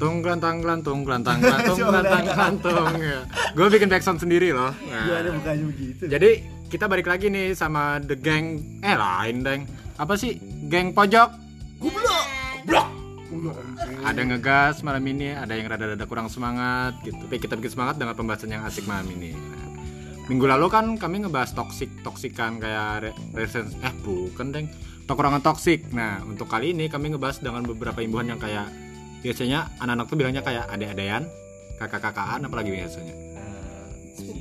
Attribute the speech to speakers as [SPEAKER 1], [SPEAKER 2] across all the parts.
[SPEAKER 1] Tongkran tangkran tongkran tangkran tongkran tangkran tong. Gue bikin backsound sendiri loh. Nah.
[SPEAKER 2] Gua ada mukanya begitu.
[SPEAKER 1] Jadi kita balik lagi nih sama the gang eh lain deng. Apa sih? Geng pojok.
[SPEAKER 2] Goblok. Blok.
[SPEAKER 1] Ada ngegas malam ini, ada yang rada-rada kurang semangat gitu. Tapi kita bikin semangat dengan pembahasan yang asik malam ini. Nah, Minggu lalu kan kami ngebahas toksik toksikan kayak re- resen eh bukan deng tongkrongan toksik. Nah untuk kali ini kami ngebahas dengan beberapa imbuhan yang kayak biasanya anak-anak tuh bilangnya kayak adek-adean, kakak-kakaan apalagi biasanya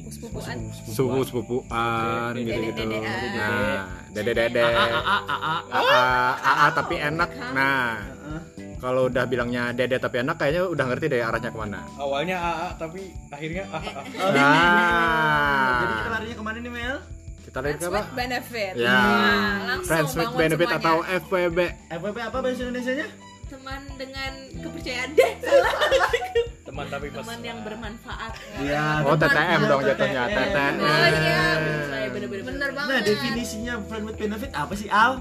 [SPEAKER 3] Sepupu-sepupuan.
[SPEAKER 1] Iya. supu sepupuan gitu gitu
[SPEAKER 3] Dede-dedean.
[SPEAKER 1] nah dede dede
[SPEAKER 3] Ah,
[SPEAKER 1] Ah, aa tapi enak nah
[SPEAKER 3] ah.
[SPEAKER 1] kalau udah bilangnya dede tapi enak kayaknya udah ngerti deh arahnya kemana
[SPEAKER 4] Awalnya AA tapi akhirnya AA.
[SPEAKER 3] Oh,
[SPEAKER 2] Jadi kita
[SPEAKER 1] nah
[SPEAKER 2] larinya kemana nih Mel?
[SPEAKER 1] kita lihat
[SPEAKER 3] Friends
[SPEAKER 1] ke apa
[SPEAKER 3] with benefit.
[SPEAKER 1] ya
[SPEAKER 3] Nah, langsung
[SPEAKER 1] friends with
[SPEAKER 3] bangun
[SPEAKER 1] benefit
[SPEAKER 3] semuanya.
[SPEAKER 1] atau FWB
[SPEAKER 2] FWP apa bahasa Indonesia-nya?
[SPEAKER 3] teman dengan kepercayaan deh salah
[SPEAKER 4] Teman tapi pas.
[SPEAKER 3] teman yang bermanfaat.
[SPEAKER 2] Iya.
[SPEAKER 1] oh
[SPEAKER 3] Teman.
[SPEAKER 1] TTM dong jatuhnya
[SPEAKER 2] Oh,
[SPEAKER 1] TTM
[SPEAKER 3] Oh iya, saya bener-bener
[SPEAKER 5] Bener banget.
[SPEAKER 2] Nah, definisinya friend with benefit apa sih, Al?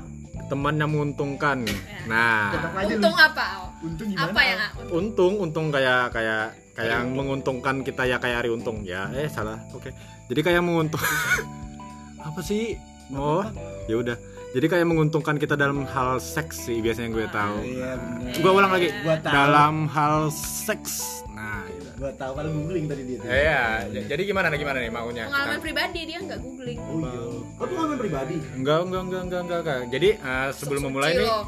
[SPEAKER 1] teman yang menguntungkan
[SPEAKER 3] Ya.
[SPEAKER 1] nah
[SPEAKER 2] Tetap aja lu.
[SPEAKER 3] Untung apa? Al?
[SPEAKER 2] Untung gimana?
[SPEAKER 3] Apa ya, yang
[SPEAKER 2] Al?
[SPEAKER 1] Ya,
[SPEAKER 3] untung?
[SPEAKER 1] untung untung kayak kayak kayak yang menguntungkan kita ya kayak hari untung ya eh salah oke jadi kayak menguntung apa sih oh ya udah jadi kayak menguntungkan kita dalam hal seks sih biasanya gue tahu
[SPEAKER 2] Iya, bener.
[SPEAKER 1] gue ulang lagi
[SPEAKER 2] Gua tahu.
[SPEAKER 1] dalam hal seks nah gitu.
[SPEAKER 2] Gua tahu malah googling tadi dia. tuh.
[SPEAKER 1] ya jadi gimana nih gimana nih maunya
[SPEAKER 3] Pengalaman pribadi dia nggak googling.
[SPEAKER 2] Oh iya. Kok pengalaman pribadi?
[SPEAKER 1] enggak enggak enggak enggak enggak, enggak. jadi eh, sebelum memulai
[SPEAKER 3] Suci
[SPEAKER 1] nih
[SPEAKER 3] loh.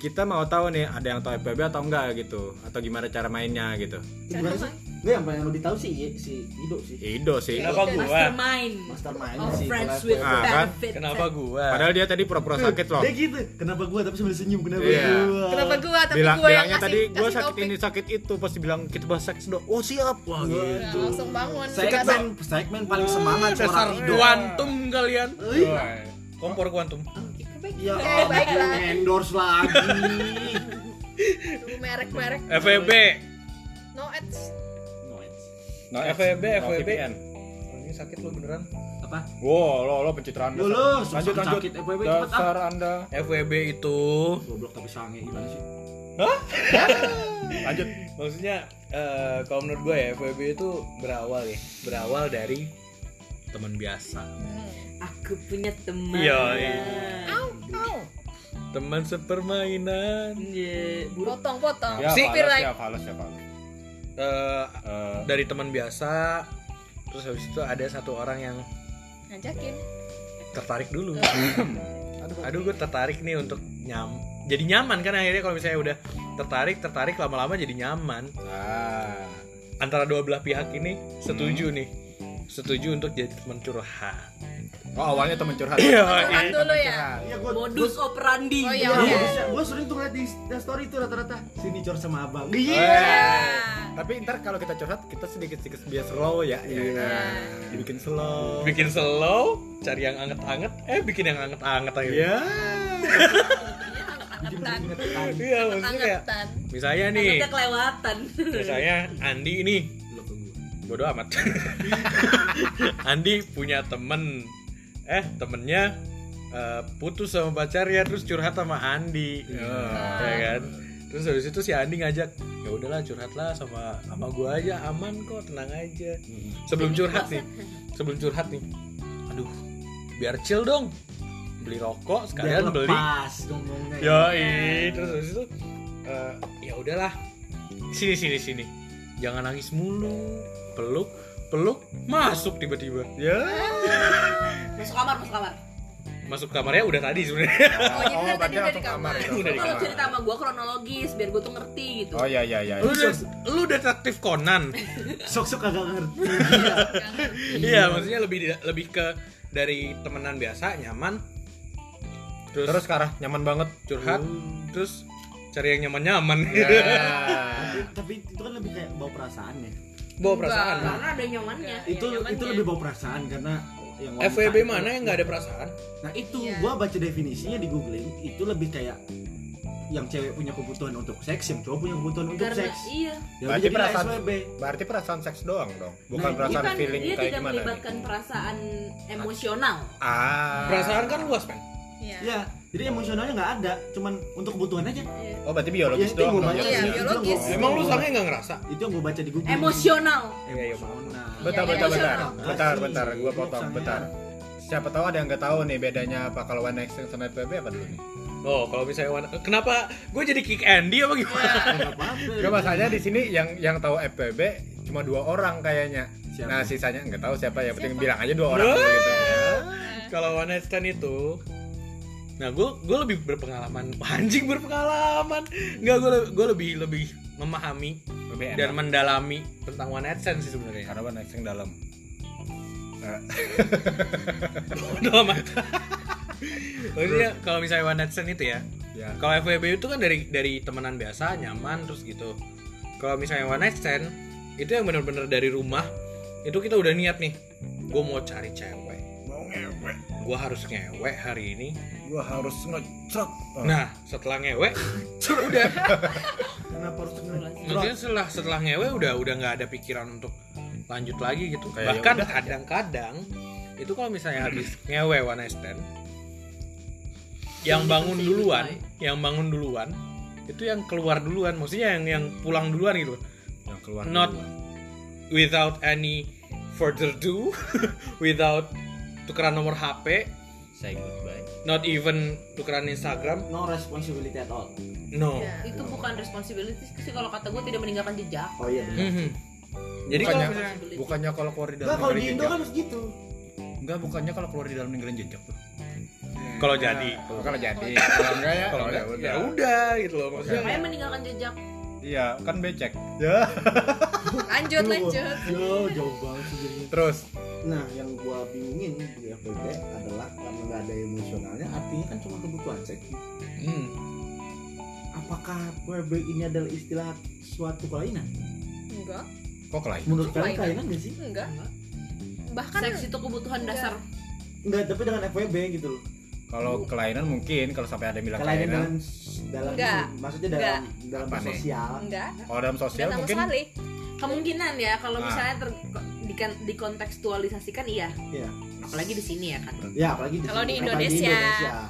[SPEAKER 1] kita mau tahu nih ada yang tahu FPB atau enggak gitu atau gimana cara mainnya gitu
[SPEAKER 2] Gimana sih? Nggak, yang paling lebih tahu sih si Ido sih.
[SPEAKER 1] Ya, Ido sih
[SPEAKER 4] Kenapa gua?
[SPEAKER 3] Mastermind.
[SPEAKER 2] Mastermind
[SPEAKER 3] Of
[SPEAKER 2] sih.
[SPEAKER 3] Oh, friends
[SPEAKER 2] kalau ya. FWB.
[SPEAKER 3] with
[SPEAKER 1] Ah, kan?
[SPEAKER 3] benefit.
[SPEAKER 4] Kenapa gua?
[SPEAKER 1] padahal dia tadi pura-pura sakit loh
[SPEAKER 2] Dia gitu. Kenapa gua tapi sambil senyum kenapa
[SPEAKER 1] Iya.
[SPEAKER 2] gua?
[SPEAKER 3] Kenapa gua? Tapi
[SPEAKER 1] bilang
[SPEAKER 3] gua yang
[SPEAKER 1] bilangnya
[SPEAKER 3] kasih,
[SPEAKER 1] tadi gue
[SPEAKER 3] kasih
[SPEAKER 1] sakit
[SPEAKER 3] topik.
[SPEAKER 1] ini sakit itu pasti bilang kita bahas seks dong oh siap wah gitu
[SPEAKER 3] Nah, langsung bangun. Dia
[SPEAKER 2] Segmen segmen paling semangat
[SPEAKER 1] Iya.
[SPEAKER 2] orang
[SPEAKER 4] Dasar
[SPEAKER 2] Iya. Ido.
[SPEAKER 4] kuantum kalian.
[SPEAKER 2] Ih.
[SPEAKER 4] Kompor kuantum.
[SPEAKER 2] Ya,
[SPEAKER 3] iya. Eh, baiklah.
[SPEAKER 2] endorse lagi.
[SPEAKER 3] kasih merek-merek
[SPEAKER 2] Iya.
[SPEAKER 4] FEB.
[SPEAKER 3] no ads.
[SPEAKER 4] No FEB,
[SPEAKER 1] Nah,
[SPEAKER 4] FEB. Ini sakit lu beneran.
[SPEAKER 2] Apa?
[SPEAKER 1] Wow, lo lo pencitraan.
[SPEAKER 2] Lu,
[SPEAKER 1] dasar.
[SPEAKER 2] lu, sakit- sakit FWB, cepet, ah.
[SPEAKER 1] Anda.
[SPEAKER 4] FWB itu
[SPEAKER 2] Goblok tapi sange gimana sih?
[SPEAKER 4] lanjut maksudnya eh, kalau menurut gue ya FWB itu berawal ya berawal dari teman biasa
[SPEAKER 3] Aku punya teman.
[SPEAKER 1] Iya.
[SPEAKER 2] Iya.
[SPEAKER 4] Yoi. teman sepermainan
[SPEAKER 3] Iya. Potong-potong.
[SPEAKER 4] Ya,
[SPEAKER 3] Sipir like.
[SPEAKER 1] halus, siap, halus.
[SPEAKER 4] Eh,
[SPEAKER 1] Eh,
[SPEAKER 4] dari teman biasa terus habis itu ada satu orang yang
[SPEAKER 3] Ngajakin.
[SPEAKER 4] tertarik dulu
[SPEAKER 2] Iya.
[SPEAKER 4] aduh gue tertarik nih untuk nyam jadi nyaman kan akhirnya kalau misalnya udah tertarik tertarik lama-lama jadi nyaman
[SPEAKER 1] ah.
[SPEAKER 4] antara dua belah pihak ini
[SPEAKER 2] Hmm.
[SPEAKER 4] setuju nih setuju untuk jadi teman curhat
[SPEAKER 1] Oh, awalnya temen curhat.
[SPEAKER 3] Curhat dulu ya.
[SPEAKER 2] Iya gua
[SPEAKER 6] modus operandi
[SPEAKER 3] Oh iya.
[SPEAKER 2] Iya,
[SPEAKER 3] oke.
[SPEAKER 2] gue sering tuh ngeliat di di story itu rata-rata sini cor sama abang.
[SPEAKER 3] Nah,
[SPEAKER 4] Eh.
[SPEAKER 1] Iya. Tapi ntar kalau kita curhat, kita sedikit-sedikit biar slow ya. Iya. Dibikin
[SPEAKER 2] Oh.
[SPEAKER 1] slow.
[SPEAKER 4] bikin slow cari yang anget-anget eh bikin yang anget-anget aja
[SPEAKER 1] Iya.
[SPEAKER 3] Angetan.
[SPEAKER 4] iya maksudnya kayak
[SPEAKER 3] Angetan.
[SPEAKER 4] misalnya nih
[SPEAKER 6] udah kelewatan
[SPEAKER 4] misalnya Andi ini bodoh amat Andi punya temen eh temennya eh, putus sama pacarnya terus curhat sama Andi ya kan terus habis itu si Andi ngajak ya udahlah curhatlah sama sama gua aja aman kok tenang aja sebelum curhat nih sebelum curhat nih aduh biar chill dong beli rokok
[SPEAKER 2] Biar
[SPEAKER 4] sekalian beli
[SPEAKER 2] lepas ngomongnya.
[SPEAKER 1] Ya.
[SPEAKER 4] Yoi, terus habis itu eh, ya udahlah. Sini sini sini. Jangan nangis mulu. Peluk, peluk, masuk tiba-tiba.
[SPEAKER 6] masuk kamar masuk kamar
[SPEAKER 4] Masuk kamarnya udah tadi sebenarnya.
[SPEAKER 3] Oh, jadi dari
[SPEAKER 1] berarti
[SPEAKER 3] tadi udah di
[SPEAKER 1] langsung
[SPEAKER 3] kamar.
[SPEAKER 1] kamar.
[SPEAKER 4] Udah di
[SPEAKER 6] Lu
[SPEAKER 4] kamar.
[SPEAKER 6] cerita sama gue kronologis biar gue tuh ngerti gitu
[SPEAKER 1] Oh iya iya iya.
[SPEAKER 4] Lu udah lu detektif Conan.
[SPEAKER 2] Sok-sok agak ngerti.
[SPEAKER 4] Iya, maksudnya lebih lebih ke dari temenan biasa nyaman. Terus, Oh.
[SPEAKER 1] Terus ke arah nyaman banget.
[SPEAKER 4] curhat, terus cari yang nyaman-nyaman.
[SPEAKER 1] Ya. Iya.
[SPEAKER 2] Tapi itu kan lebih kayak bawa perasaan ya.
[SPEAKER 4] Bawa perasaan.
[SPEAKER 3] Enggak.
[SPEAKER 6] karena ada nyamannya
[SPEAKER 1] Iya.
[SPEAKER 2] Itu itu lebih bawa perasaan karena yang wanita
[SPEAKER 4] FWB
[SPEAKER 2] itu-
[SPEAKER 4] mana yang nggak ada perasaan?
[SPEAKER 2] Nah, itu
[SPEAKER 3] Iya.
[SPEAKER 2] gua baca definisinya di googling itu lebih kayak yang cewek punya kebutuhan untuk seks, yang cowok punya kebutuhan untuk
[SPEAKER 6] karena
[SPEAKER 2] seks.
[SPEAKER 6] iya
[SPEAKER 2] Ya
[SPEAKER 1] Berarti
[SPEAKER 2] jadi
[SPEAKER 1] perasaan-
[SPEAKER 2] SWB.
[SPEAKER 1] Berarti perasaan seks doang dong, bukan
[SPEAKER 2] Nah,
[SPEAKER 1] perasaan
[SPEAKER 6] bukan
[SPEAKER 1] feeling
[SPEAKER 6] dia
[SPEAKER 1] kayak
[SPEAKER 6] tidak
[SPEAKER 1] gimana. nih?
[SPEAKER 6] melibatkan perasaan emosional
[SPEAKER 1] Ah.
[SPEAKER 4] Perasaan kan luas, men.
[SPEAKER 3] Iya.
[SPEAKER 2] Ya, jadi emosionalnya nggak ada cuman untuk kebutuhan aja
[SPEAKER 1] Oh berarti biologis
[SPEAKER 2] Yang penting
[SPEAKER 1] doang.
[SPEAKER 2] gua baca
[SPEAKER 1] dong.
[SPEAKER 6] Iya,
[SPEAKER 2] itu yang gua-
[SPEAKER 6] biologis.
[SPEAKER 4] Emang lu sange nggak ngerasa?
[SPEAKER 2] itu yang gue baca di Google
[SPEAKER 3] Emosional.
[SPEAKER 4] Iya, iya,
[SPEAKER 2] emosional
[SPEAKER 1] Bentar, bentar, bentar,
[SPEAKER 6] Iya, iya,
[SPEAKER 2] iya.
[SPEAKER 1] bentar,
[SPEAKER 2] Iya,
[SPEAKER 1] bentar,
[SPEAKER 2] iya.
[SPEAKER 1] gua potong,
[SPEAKER 2] Iya.
[SPEAKER 1] bentar. Siapa tahu ada yang nggak tahu nih bedanya apa kalau one night stand sama FPB apa dulu nih?
[SPEAKER 4] Oh, kalau misalnya Wan- kenapa gue jadi kick Andy apa gimana?
[SPEAKER 2] Nggak apa-apa.
[SPEAKER 1] Gak masalahnya di sini yang yang tahu FPB cuma dua orang kayaknya.
[SPEAKER 2] Siapa?
[SPEAKER 1] Nah sisanya nggak tahu siapa ya. Penting
[SPEAKER 6] Siapa?
[SPEAKER 1] bilang aja dua orang dulu gitu.
[SPEAKER 4] kalau one night stand itu nah gue gue lebih berpengalaman anjing berpengalaman nggak gue gue lebih lebih memahami
[SPEAKER 1] Lebih enak.
[SPEAKER 4] dan mendalami tentang one night stand sih sebenarnya
[SPEAKER 1] Karena one night stand dalam.
[SPEAKER 4] Dalam arti- maksudnya kalau misalnya one night stand itu ya
[SPEAKER 1] Ya.
[SPEAKER 4] kalau FWB itu kan dari dari temenan biasa nyaman terus gitu kalau misalnya one night stand itu yang bener-bener dari rumah itu kita udah niat nih gue mau cari cewek
[SPEAKER 1] Mau ngewek.
[SPEAKER 4] gue harus ngewek hari ini
[SPEAKER 1] Gua harus ngecrok. Oh.
[SPEAKER 4] nah setelah ngewek udah
[SPEAKER 2] kenapa harus ngelanjut
[SPEAKER 4] Maksudnya setelah setelah ngewe udah udah nggak ada pikiran untuk lanjut lagi gitu.
[SPEAKER 1] Kayak
[SPEAKER 4] Bahkan
[SPEAKER 1] ya udah
[SPEAKER 4] kadang-kadang itu kalau misalnya habis ngewe one night stand, yang bangun duluan, yang bangun duluan itu yang keluar duluan, maksudnya yang yang pulang duluan gitu.
[SPEAKER 1] Yang keluar.
[SPEAKER 4] Not
[SPEAKER 1] duluan.
[SPEAKER 4] without any further do, without tukeran nomor HP,
[SPEAKER 7] Say goodbye.
[SPEAKER 4] not even tukeran Instagram.
[SPEAKER 2] no responsibility at all
[SPEAKER 4] No.
[SPEAKER 3] Itu bukan responsibility sih kalau kata gue tidak meninggalkan jejak.
[SPEAKER 2] oh iya benar
[SPEAKER 4] Mhm.
[SPEAKER 1] Bukannya-
[SPEAKER 4] Jadi kalau misalnya-
[SPEAKER 3] Responsibility.
[SPEAKER 1] Bukannya kalau keluar di dalam.
[SPEAKER 2] Nah, kalau di
[SPEAKER 1] ninggalin
[SPEAKER 2] Indo
[SPEAKER 1] jejak.
[SPEAKER 2] kan harus gitu.
[SPEAKER 1] Enggak, bukannya kalau keluar di dalam ninggalin jejak tuh.
[SPEAKER 4] kalau jadi
[SPEAKER 1] Oh, kalau jadi, kalau enggak ya,
[SPEAKER 4] kalau
[SPEAKER 1] ya
[SPEAKER 4] nggak, ya udah gitu loh maksudnya
[SPEAKER 3] Makanya meninggalkan jejak.
[SPEAKER 1] Iya, kan becek. Ya.
[SPEAKER 6] Lanjut, lanjut.
[SPEAKER 2] Jauh, Iya, jauh banget sih jadinya.
[SPEAKER 1] Terus
[SPEAKER 2] Nah, yang gua bingungin di FPP adalah karena nggak ada emosionalnya, artinya kan cuma kebutuhan seks.
[SPEAKER 4] Hmm.
[SPEAKER 2] Apakah FPP ini adalah istilah suatu kelainan?
[SPEAKER 6] Enggak,
[SPEAKER 1] kok lain?
[SPEAKER 2] Menurut
[SPEAKER 6] Itu
[SPEAKER 2] kalian
[SPEAKER 6] kelainan.
[SPEAKER 2] kelainan nggak sih?
[SPEAKER 6] enggak. Bahkan
[SPEAKER 3] Seks itu kebutuhan dasar.
[SPEAKER 2] Enggak, tapi dengan FPP gitu loh.
[SPEAKER 1] Kalau kelainan mungkin kalau sampai ada yang bilang
[SPEAKER 2] Kelainan
[SPEAKER 1] kelainan.
[SPEAKER 2] dalam dalam
[SPEAKER 6] Nggak.
[SPEAKER 2] maksudnya dalam dalam
[SPEAKER 1] Apa nih?
[SPEAKER 2] sosial.
[SPEAKER 6] enggak.
[SPEAKER 1] Kalau dalam
[SPEAKER 6] Enggak
[SPEAKER 1] sosial
[SPEAKER 6] sama
[SPEAKER 1] mungkin
[SPEAKER 6] sekali.
[SPEAKER 3] Kemungkinan ya kalau
[SPEAKER 1] Ah.
[SPEAKER 3] misalnya ter, dikan- dikontekstualisasikan iya.
[SPEAKER 2] Iya.
[SPEAKER 3] Apalagi di sini ya kan.
[SPEAKER 2] Ya, apalagi di,
[SPEAKER 6] Kalau di
[SPEAKER 2] apalagi
[SPEAKER 6] Indonesia.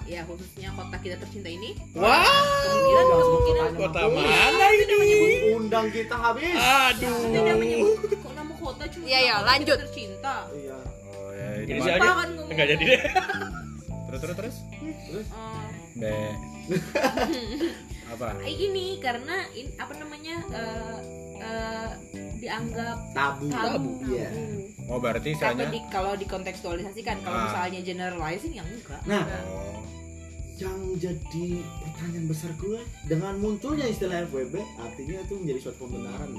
[SPEAKER 3] Ya khususnya kota kita tercinta ini.
[SPEAKER 4] Wah,
[SPEAKER 3] Kemungkinan kemungkinan
[SPEAKER 4] kota
[SPEAKER 2] Kota
[SPEAKER 4] mana ini?
[SPEAKER 2] Undang kita habis.
[SPEAKER 3] tidak
[SPEAKER 4] Aduh.
[SPEAKER 3] menyebut uh, kok nama kota cuma
[SPEAKER 6] Iya, iya,
[SPEAKER 3] kota
[SPEAKER 6] lanjut.
[SPEAKER 3] kita tercinta.
[SPEAKER 2] Iya.
[SPEAKER 1] Oh, ya,
[SPEAKER 4] Jadi
[SPEAKER 1] gimana?
[SPEAKER 4] siapa?
[SPEAKER 3] Apa kan ngomong?
[SPEAKER 4] Enggak jadi deh.
[SPEAKER 1] Terus terus terus.
[SPEAKER 3] Eh,
[SPEAKER 1] Be. Apa?
[SPEAKER 3] Kayak gini karena in- apa namanya eh, eh, dianggap
[SPEAKER 2] Tabu.
[SPEAKER 3] tabu.
[SPEAKER 2] Iya.
[SPEAKER 1] Oh, berarti
[SPEAKER 3] Tapi
[SPEAKER 1] istilahnya
[SPEAKER 3] di, kalau dikontekstualisasikan kalau
[SPEAKER 1] Ah.
[SPEAKER 3] misalnya generalizing ya enggak.
[SPEAKER 2] Nah,
[SPEAKER 1] Oh.
[SPEAKER 2] yang jadi pertanyaan besar gue dengan munculnya istilah FWB artinya itu menjadi suatu pembenaran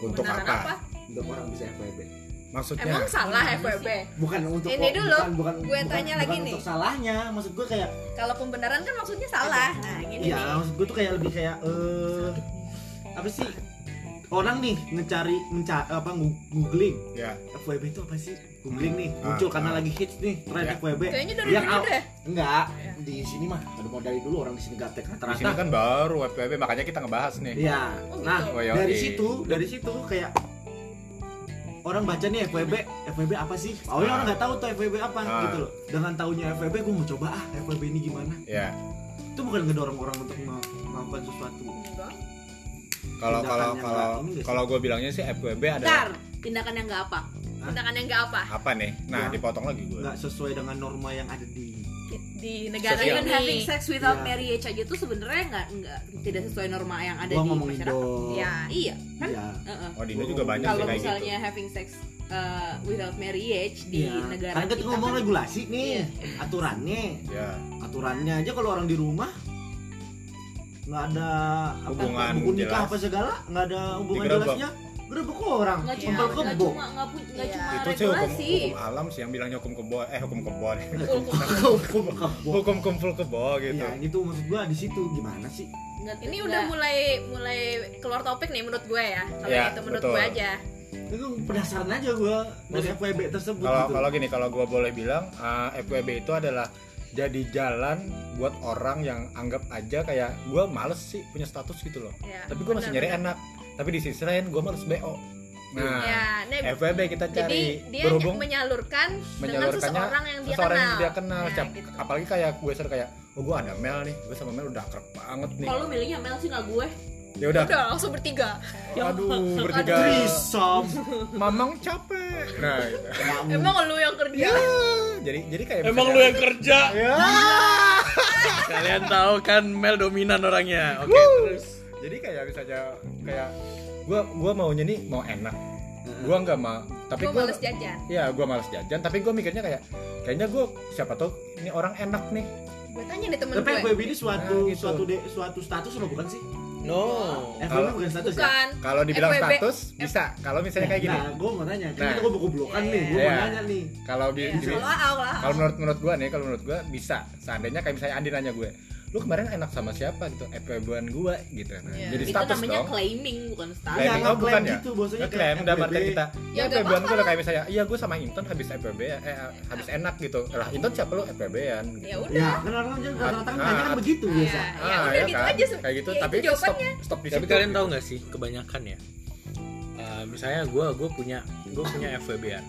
[SPEAKER 1] Untuk
[SPEAKER 6] Beneran
[SPEAKER 1] apa?
[SPEAKER 2] untuk orang bisa FWB
[SPEAKER 1] Maksudnya
[SPEAKER 6] Emang salah FWB.
[SPEAKER 2] bukan untuk
[SPEAKER 6] Ini dulu,
[SPEAKER 2] bukan, bukan,
[SPEAKER 6] gue
[SPEAKER 2] bukan-
[SPEAKER 6] tanya
[SPEAKER 2] bukan
[SPEAKER 6] lagi
[SPEAKER 2] untuk
[SPEAKER 6] nih.
[SPEAKER 2] salahnya maksud gue kayak
[SPEAKER 6] Kalau pembenaran kan maksudnya salah. Nah, gini
[SPEAKER 1] Iya.
[SPEAKER 2] ya
[SPEAKER 6] nih.
[SPEAKER 2] maksud gue tuh kayak lebih kayak eh apa sih orang nih ngecari menca apa ngu- googling
[SPEAKER 1] ya.
[SPEAKER 2] FWB itu apa sih googling nih
[SPEAKER 1] Ah,
[SPEAKER 2] muncul karena
[SPEAKER 1] ah.
[SPEAKER 2] lagi hits nih tren
[SPEAKER 1] Ya.
[SPEAKER 2] FWB
[SPEAKER 6] Kayaknya dari
[SPEAKER 2] Yang
[SPEAKER 6] dulu
[SPEAKER 2] out.
[SPEAKER 6] deh.
[SPEAKER 2] enggak
[SPEAKER 6] Ya.
[SPEAKER 2] di sini mah ada mau dari dulu orang di sini
[SPEAKER 1] Di
[SPEAKER 2] gaptek
[SPEAKER 1] sini
[SPEAKER 2] rata-rata
[SPEAKER 1] kan baru FPB makanya kita ngebahas nih.
[SPEAKER 2] iya
[SPEAKER 6] Oh, gitu.
[SPEAKER 2] nah
[SPEAKER 1] Oh, yoi.
[SPEAKER 2] dari situ dari situ kayak orang baca nih FWB FWB apa sih awalnya
[SPEAKER 1] Ah.
[SPEAKER 2] orang nggak tahu tuh FWB apa
[SPEAKER 1] Ah.
[SPEAKER 2] gitu loh dengan tahunya FWB gue mau coba ah FWB ini gimana
[SPEAKER 1] Ya.
[SPEAKER 2] itu bukan ngedorong orang untuk mau- melakukan sesuatu
[SPEAKER 6] Enggak.
[SPEAKER 1] Kalau kalau
[SPEAKER 2] Tindakan yang
[SPEAKER 1] kalau
[SPEAKER 2] nggak ini
[SPEAKER 1] kalau gue bilangnya sih FWB
[SPEAKER 3] Bentar,
[SPEAKER 1] ada
[SPEAKER 3] tindakan yang enggak apa.
[SPEAKER 6] Tindakan yang enggak apa
[SPEAKER 1] apa nih? Nah,
[SPEAKER 2] Ya.
[SPEAKER 1] dipotong lagi gue.
[SPEAKER 2] nggak sesuai dengan norma yang ada di
[SPEAKER 6] di negara
[SPEAKER 3] Even having
[SPEAKER 6] ini.
[SPEAKER 3] sex without
[SPEAKER 2] Iya.
[SPEAKER 3] marriage aja tuh sebenarnya enggak enggak tidak sesuai norma yang ada
[SPEAKER 2] gua
[SPEAKER 3] di
[SPEAKER 2] ngomong
[SPEAKER 3] masyarakat.
[SPEAKER 2] Indo
[SPEAKER 6] Ya.
[SPEAKER 3] Iya, kan?
[SPEAKER 2] Iya.
[SPEAKER 3] Heeh.
[SPEAKER 1] Oh, di Indo juga banyak sih
[SPEAKER 3] Kalau
[SPEAKER 1] kayak
[SPEAKER 3] misalnya having sex uh, without marriage di
[SPEAKER 2] Iya.
[SPEAKER 3] negara
[SPEAKER 2] Karena kita
[SPEAKER 3] kita
[SPEAKER 2] ngomong
[SPEAKER 3] kan-
[SPEAKER 2] regulasi nih
[SPEAKER 3] Iya.
[SPEAKER 2] aturannya
[SPEAKER 1] gitu. Ya.
[SPEAKER 2] aturannya aja kalau orang di rumah nggak ada apa,
[SPEAKER 1] Hubungan
[SPEAKER 2] buku nikah
[SPEAKER 1] jelas.
[SPEAKER 2] apa segala nggak ada hubungan
[SPEAKER 1] Digerebek.
[SPEAKER 2] jelasnya gerebek kok orang
[SPEAKER 3] nggak
[SPEAKER 6] Iya,
[SPEAKER 3] cuma
[SPEAKER 2] Kumpul
[SPEAKER 3] nggak
[SPEAKER 2] kebo.
[SPEAKER 3] cuma nggak pu- nggak
[SPEAKER 6] Iya.
[SPEAKER 3] cuma
[SPEAKER 1] Itu sih hukum,
[SPEAKER 3] Nah, regulasi
[SPEAKER 1] hukum alam sih yang bilangnya hukum kebo eh hukum kebo
[SPEAKER 2] hukum kebo
[SPEAKER 1] hukum kumpul kebo Oh, gitu.
[SPEAKER 2] ya gitu maksud gua di situ gimana sih
[SPEAKER 3] Nggak-
[SPEAKER 6] Ini
[SPEAKER 1] Iya.
[SPEAKER 3] nggak-
[SPEAKER 6] udah mulai mulai keluar topik nih menurut gue ya. Kalau
[SPEAKER 1] Iya,
[SPEAKER 6] itu menurut
[SPEAKER 1] betul.
[SPEAKER 6] gue aja.
[SPEAKER 2] itu penasaran aja gua dari
[SPEAKER 1] Maksud-
[SPEAKER 2] FWB tersebut
[SPEAKER 1] kalau
[SPEAKER 2] gitu.
[SPEAKER 1] kalau gini kalau gue boleh bilang uh, FWB itu adalah jadi jalan buat orang yang anggap aja kayak gue males sih punya status gitu loh
[SPEAKER 6] Ya.
[SPEAKER 1] tapi gue masih
[SPEAKER 6] benar,
[SPEAKER 1] nyari enak tapi di sisi lain gue males BO
[SPEAKER 6] benar. Ya,
[SPEAKER 3] Iya.
[SPEAKER 1] nah
[SPEAKER 6] nah,
[SPEAKER 1] FWB kita
[SPEAKER 6] jadi
[SPEAKER 1] cari
[SPEAKER 6] dia
[SPEAKER 1] berhubung
[SPEAKER 6] menyalurkan dengan
[SPEAKER 1] menyalurkannya
[SPEAKER 6] seseorang yang dia
[SPEAKER 1] seseorang
[SPEAKER 6] kenal.
[SPEAKER 1] yang dia kenal
[SPEAKER 6] Nah,
[SPEAKER 1] siap-
[SPEAKER 6] gitu.
[SPEAKER 1] apalagi kayak gue ser kayak oh oh gue ada Mel nih gue sama Mel udah akrab banget nih
[SPEAKER 3] Kalau lu milihnya Mel sih nggak gue.
[SPEAKER 1] ya udah
[SPEAKER 6] udah langsung bertiga
[SPEAKER 1] aduh bertiga
[SPEAKER 2] Trisom
[SPEAKER 1] mamang capek nah gitu.
[SPEAKER 6] emang lu yang
[SPEAKER 1] Iya.
[SPEAKER 6] kerja
[SPEAKER 1] jadi jadi kayak
[SPEAKER 4] Emang lu
[SPEAKER 1] misalnya-
[SPEAKER 4] yang kerja?
[SPEAKER 1] Ya.
[SPEAKER 4] Kalian tahu kan Mel dominan orangnya. Oke, terus.
[SPEAKER 1] jadi kayak misalnya kayak gue gua maunya nih mau enak gue nggak mau tapi
[SPEAKER 6] gue
[SPEAKER 1] gue
[SPEAKER 6] males jajan
[SPEAKER 1] ya gue malas jajan tapi gue mikirnya kayak kayaknya gue siapa tau ini orang enak nih
[SPEAKER 6] gue tanya nih temen
[SPEAKER 2] Tapi
[SPEAKER 6] gue
[SPEAKER 2] FWB ini suatu
[SPEAKER 1] Nah, gitu.
[SPEAKER 2] suatu de- suatu status apa bukan sih?
[SPEAKER 4] No. Eh,
[SPEAKER 2] FWB bukan status ya?
[SPEAKER 6] bukan
[SPEAKER 1] kalau dibilang
[SPEAKER 6] FWB.
[SPEAKER 1] status bisa kalau misalnya kayak gini
[SPEAKER 2] Nah, gue mau nanya, kan
[SPEAKER 1] Nah.
[SPEAKER 2] kita gue buku blokan nih, gue
[SPEAKER 1] Iya.
[SPEAKER 2] mau nanya nih
[SPEAKER 1] kalau di,
[SPEAKER 6] ya,
[SPEAKER 1] di-
[SPEAKER 6] kalau aau lah
[SPEAKER 1] kalau menurut menurut gue nih kalau menurut gue bisa seandainya kayak misalnya Andi nanya gue lu kemarin enak sama siapa gitu FWB-an gue gitu nah,
[SPEAKER 6] Iya.
[SPEAKER 1] jadi
[SPEAKER 3] Itu
[SPEAKER 1] status
[SPEAKER 3] namanya
[SPEAKER 1] dong
[SPEAKER 3] claiming bukan status.
[SPEAKER 1] Claiming,
[SPEAKER 2] Iya,
[SPEAKER 1] oh, bukan
[SPEAKER 2] ngeklaim
[SPEAKER 1] ya?
[SPEAKER 2] gitu, bahwasanya
[SPEAKER 1] ngeklaim
[SPEAKER 2] kayak
[SPEAKER 1] udah artian
[SPEAKER 2] FWB.
[SPEAKER 1] kita
[SPEAKER 6] Ya,
[SPEAKER 1] ya,
[SPEAKER 6] nggak
[SPEAKER 1] FWB-an gue
[SPEAKER 6] apa-apa
[SPEAKER 1] udah kayak misalnya iya gue sama Intan habis FWB ya eh, habis enak gitu lah Intan siapa lu FWB-an gitu.
[SPEAKER 6] ya udah
[SPEAKER 2] Ya, kan orang-orang juga rata-rata kan
[SPEAKER 1] Ah,
[SPEAKER 2] nanya kan
[SPEAKER 1] ah,
[SPEAKER 2] begitu biasa
[SPEAKER 6] ya, ya udah gitu aja se-
[SPEAKER 1] kayak gitu
[SPEAKER 6] ya, itu
[SPEAKER 1] tapi stop
[SPEAKER 6] jawabannya
[SPEAKER 1] stop di
[SPEAKER 4] Tapi
[SPEAKER 1] situ.
[SPEAKER 4] kalian tahu nggak sih kebanyakan ya? Eh, misalnya gue gue punya gue punya FWB-an.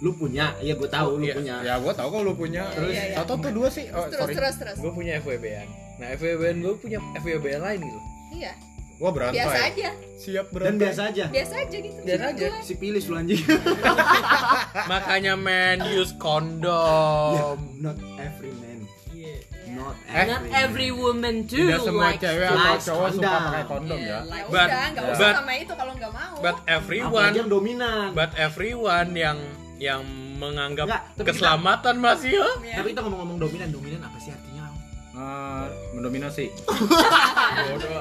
[SPEAKER 2] Lu punya, iya gue tahu lu
[SPEAKER 4] Iya.
[SPEAKER 2] punya
[SPEAKER 1] ya gue tau kok lu punya
[SPEAKER 6] Terus? Iya, iya.
[SPEAKER 1] satu tuh dua sih oh,
[SPEAKER 6] terus
[SPEAKER 1] sorry
[SPEAKER 6] terus terus
[SPEAKER 4] Gue punya FWB-an. Nah, FWB-an gue punya FWB-an lain gitu.
[SPEAKER 6] iya
[SPEAKER 1] Wah berantai
[SPEAKER 6] biasa aja
[SPEAKER 1] siap
[SPEAKER 2] Dan
[SPEAKER 1] berantai
[SPEAKER 2] biasa aja,
[SPEAKER 6] biasa aja gitu
[SPEAKER 4] Biasa
[SPEAKER 6] menurut
[SPEAKER 4] aja.
[SPEAKER 6] gue.
[SPEAKER 2] si pilih lu anjing
[SPEAKER 4] Makanya men use kondom.
[SPEAKER 2] Not every man,
[SPEAKER 4] Iya.
[SPEAKER 2] not
[SPEAKER 1] Eh?
[SPEAKER 3] Not
[SPEAKER 2] every man.
[SPEAKER 3] every woman do
[SPEAKER 1] tidak semua
[SPEAKER 3] likes
[SPEAKER 1] cewek
[SPEAKER 3] to-
[SPEAKER 1] atau
[SPEAKER 2] likes
[SPEAKER 1] cowok suka
[SPEAKER 2] kondom.
[SPEAKER 1] pakai kondom ya
[SPEAKER 3] Yeah,
[SPEAKER 6] ya
[SPEAKER 3] like-
[SPEAKER 4] But-
[SPEAKER 6] udah nggak
[SPEAKER 1] ya.
[SPEAKER 6] usah
[SPEAKER 4] But-
[SPEAKER 6] sama itu kalau nggak mau
[SPEAKER 4] But
[SPEAKER 2] Apalagi
[SPEAKER 4] everyone
[SPEAKER 2] yang dominan
[SPEAKER 4] but everyone yang yang menganggap
[SPEAKER 2] Nggak, tapi kita-
[SPEAKER 4] keselamatan masih ya.
[SPEAKER 6] Ya.
[SPEAKER 2] Tapi kita ngomong-ngomong dominan, dominan apa sih artinya?
[SPEAKER 1] Eh, mendominasi
[SPEAKER 6] Iya,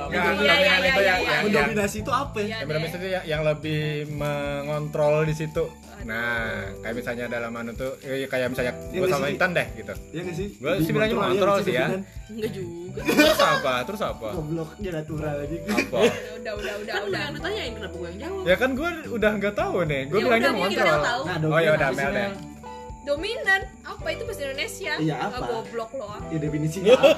[SPEAKER 1] Nggak,
[SPEAKER 6] iya,
[SPEAKER 1] dominan itu
[SPEAKER 6] iya,
[SPEAKER 1] ya.
[SPEAKER 6] iya,
[SPEAKER 1] yang-
[SPEAKER 6] iya.
[SPEAKER 1] yang- yang-
[SPEAKER 2] Mendominasi itu apa
[SPEAKER 6] Iya
[SPEAKER 2] ya?
[SPEAKER 1] yang
[SPEAKER 6] deh.
[SPEAKER 1] mendominasi itu yang, yang lebih mengontrol di situ nah kayak misalnya dalam anu tuh eh, kayak misalnya
[SPEAKER 2] Iya,
[SPEAKER 1] gue sama
[SPEAKER 2] sih.
[SPEAKER 1] Intan deh gitu
[SPEAKER 2] Iya nggak sih?
[SPEAKER 1] Gua sih bilangnya mengontrol sih ya.
[SPEAKER 3] Enggak juga.
[SPEAKER 1] terus apa terus apa
[SPEAKER 2] Gobloknya natural lagi.
[SPEAKER 1] apa
[SPEAKER 6] udah udah udah
[SPEAKER 3] Kan lu
[SPEAKER 6] udah
[SPEAKER 3] yang ditanyain kenapa gue yang jawab.
[SPEAKER 1] ya kan gue udah nggak tahu nih gue
[SPEAKER 3] Ya
[SPEAKER 1] bilangnya
[SPEAKER 3] udah, mungkin
[SPEAKER 1] mengontrol
[SPEAKER 3] orang tahu.
[SPEAKER 1] oh ya udah
[SPEAKER 4] Nah,
[SPEAKER 2] dominan.
[SPEAKER 1] Mel deh
[SPEAKER 6] dominan apa itu bahasa Indonesia
[SPEAKER 2] Iya,
[SPEAKER 6] Ah,
[SPEAKER 2] apa?
[SPEAKER 6] goblok lo ah.
[SPEAKER 2] Ya definisinya apa?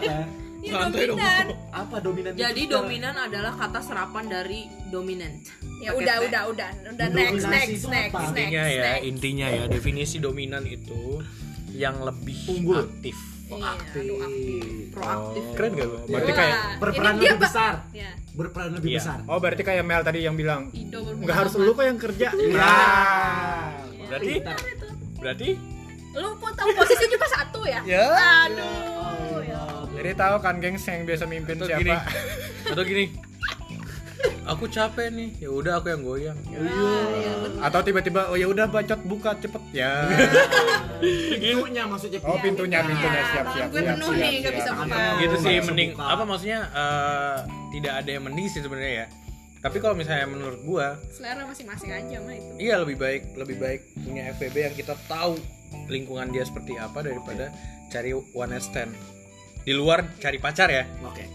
[SPEAKER 6] ya
[SPEAKER 4] Santai dong.
[SPEAKER 6] dominan
[SPEAKER 2] Apa dominan? itu
[SPEAKER 3] Jadi
[SPEAKER 2] kita?
[SPEAKER 3] dominan adalah kata serapan dari dominant.
[SPEAKER 6] ya udah udah udah udah next
[SPEAKER 2] Dominasi
[SPEAKER 6] next
[SPEAKER 2] itu
[SPEAKER 6] next
[SPEAKER 2] apa?
[SPEAKER 6] next
[SPEAKER 4] Intinya ya,
[SPEAKER 6] next
[SPEAKER 4] intinya ya definisi dominan itu yang lebih
[SPEAKER 2] Unggul.
[SPEAKER 4] aktif.
[SPEAKER 6] Iya, aduh, aktif.
[SPEAKER 3] Proaktif.
[SPEAKER 4] Keren gak lu?
[SPEAKER 1] berarti
[SPEAKER 6] Wah,
[SPEAKER 1] kayak
[SPEAKER 2] Berperan
[SPEAKER 6] ini dia,
[SPEAKER 2] lebih
[SPEAKER 6] Pak.
[SPEAKER 2] besar.
[SPEAKER 6] Ya.
[SPEAKER 2] Berperan lebih
[SPEAKER 4] Iya.
[SPEAKER 2] besar.
[SPEAKER 1] oh berarti kayak Mel tadi yang bilang
[SPEAKER 6] Indo
[SPEAKER 1] nggak harus lu kok yang kerja Nah,
[SPEAKER 2] Iya.
[SPEAKER 4] Berarti berarti
[SPEAKER 6] Lu pun tahu posisi juga satu ya?
[SPEAKER 4] ya
[SPEAKER 6] Aduh. ya Allah.
[SPEAKER 1] jadi tahu kan gengs yang biasa mimpin
[SPEAKER 4] atau
[SPEAKER 1] siapa
[SPEAKER 4] gini.
[SPEAKER 6] Iya,
[SPEAKER 4] Atau gini. Aku capek nih. Ya udah aku yang goyang.
[SPEAKER 6] Ya, bener.
[SPEAKER 1] atau tiba-tiba oh ya udah bacot buka cepet ya
[SPEAKER 2] Pintunya maksudnya.
[SPEAKER 6] Iya,
[SPEAKER 1] oh pintunya
[SPEAKER 2] Nah,
[SPEAKER 1] pintunya
[SPEAKER 6] Ya,
[SPEAKER 1] siap siap
[SPEAKER 6] tangan gue
[SPEAKER 1] siap,
[SPEAKER 6] penuh
[SPEAKER 1] siap,
[SPEAKER 6] nih, nggak
[SPEAKER 1] siap.
[SPEAKER 6] bisa
[SPEAKER 4] gitu
[SPEAKER 6] buka.
[SPEAKER 2] Oh,
[SPEAKER 4] sih
[SPEAKER 2] langsung
[SPEAKER 4] mending
[SPEAKER 2] buka.
[SPEAKER 4] apa maksudnya eh, tidak ada yang mending sih sebenarnya ya tapi kalau misalnya menurut gua
[SPEAKER 6] Selera masing-masing aja mah itu.
[SPEAKER 4] iya lebih baik lebih baik punya FVB yang kita tahu lingkungan dia seperti apa daripada cari one night stand di luar cari pacar ya
[SPEAKER 2] Oke.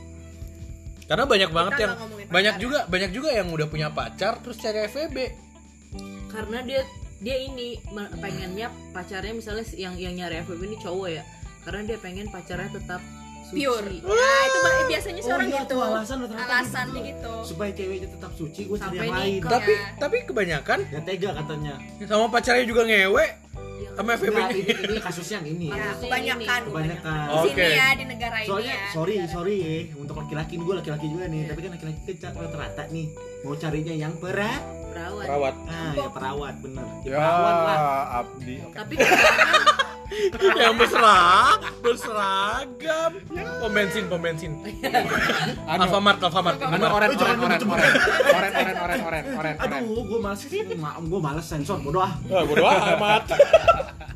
[SPEAKER 4] karena banyak banget
[SPEAKER 6] nggak
[SPEAKER 4] yang
[SPEAKER 6] ngomongin
[SPEAKER 4] banyak
[SPEAKER 6] pacar,
[SPEAKER 4] juga banyak juga yang udah punya pacar terus cari FVB
[SPEAKER 3] Karena dia dia ini me- pengennya pacarnya misalnya si- yang yang nyari FWB ini cowok ya. Karena dia pengen pacarnya tetap suci.
[SPEAKER 6] Pure. Ya, itu ba- biasanya
[SPEAKER 2] Oh
[SPEAKER 6] seorang
[SPEAKER 2] iya
[SPEAKER 6] gitu.
[SPEAKER 2] tuh alasan lo ternyata
[SPEAKER 6] Alasan
[SPEAKER 2] gitu.
[SPEAKER 6] gitu.
[SPEAKER 2] Supaya ceweknya tetap suci, gue cari
[SPEAKER 3] Sampai
[SPEAKER 2] yang lain.
[SPEAKER 6] ya?
[SPEAKER 3] nikah.
[SPEAKER 4] tapi tapi kebanyakan
[SPEAKER 2] Gak tega katanya.
[SPEAKER 4] sama pacarnya juga ngewe
[SPEAKER 3] Iya.
[SPEAKER 4] sama FVB
[SPEAKER 2] Enggak,
[SPEAKER 4] nya
[SPEAKER 2] ini, ini kasusnya yang ini.
[SPEAKER 6] Ya, kebanyakan.
[SPEAKER 2] Kebanyakan.
[SPEAKER 1] Oh,
[SPEAKER 6] Di sini
[SPEAKER 4] Oke.
[SPEAKER 6] ya di negara ini
[SPEAKER 2] soalnya
[SPEAKER 6] ya.
[SPEAKER 2] sorry sorry ya untuk laki-laki gue laki-laki juga nih tapi kan laki-laki kecak rata-rata nih mau carinya yang perak
[SPEAKER 3] Perawat.
[SPEAKER 4] perawat
[SPEAKER 2] ah ya perawat bener ya,
[SPEAKER 1] ya
[SPEAKER 2] perawan lah
[SPEAKER 1] Abdi oke
[SPEAKER 3] Tapi kebanyakan
[SPEAKER 4] yang berserag berseragam pom bensin pom bensin Alfamart Alfamart
[SPEAKER 1] Anu,
[SPEAKER 4] Alfamart.
[SPEAKER 2] Eh,
[SPEAKER 1] oren oren oren oren oren oren oren oren oren oren
[SPEAKER 2] aduh gue males gue males sensor bodoh ah
[SPEAKER 4] Wah, bodo amat.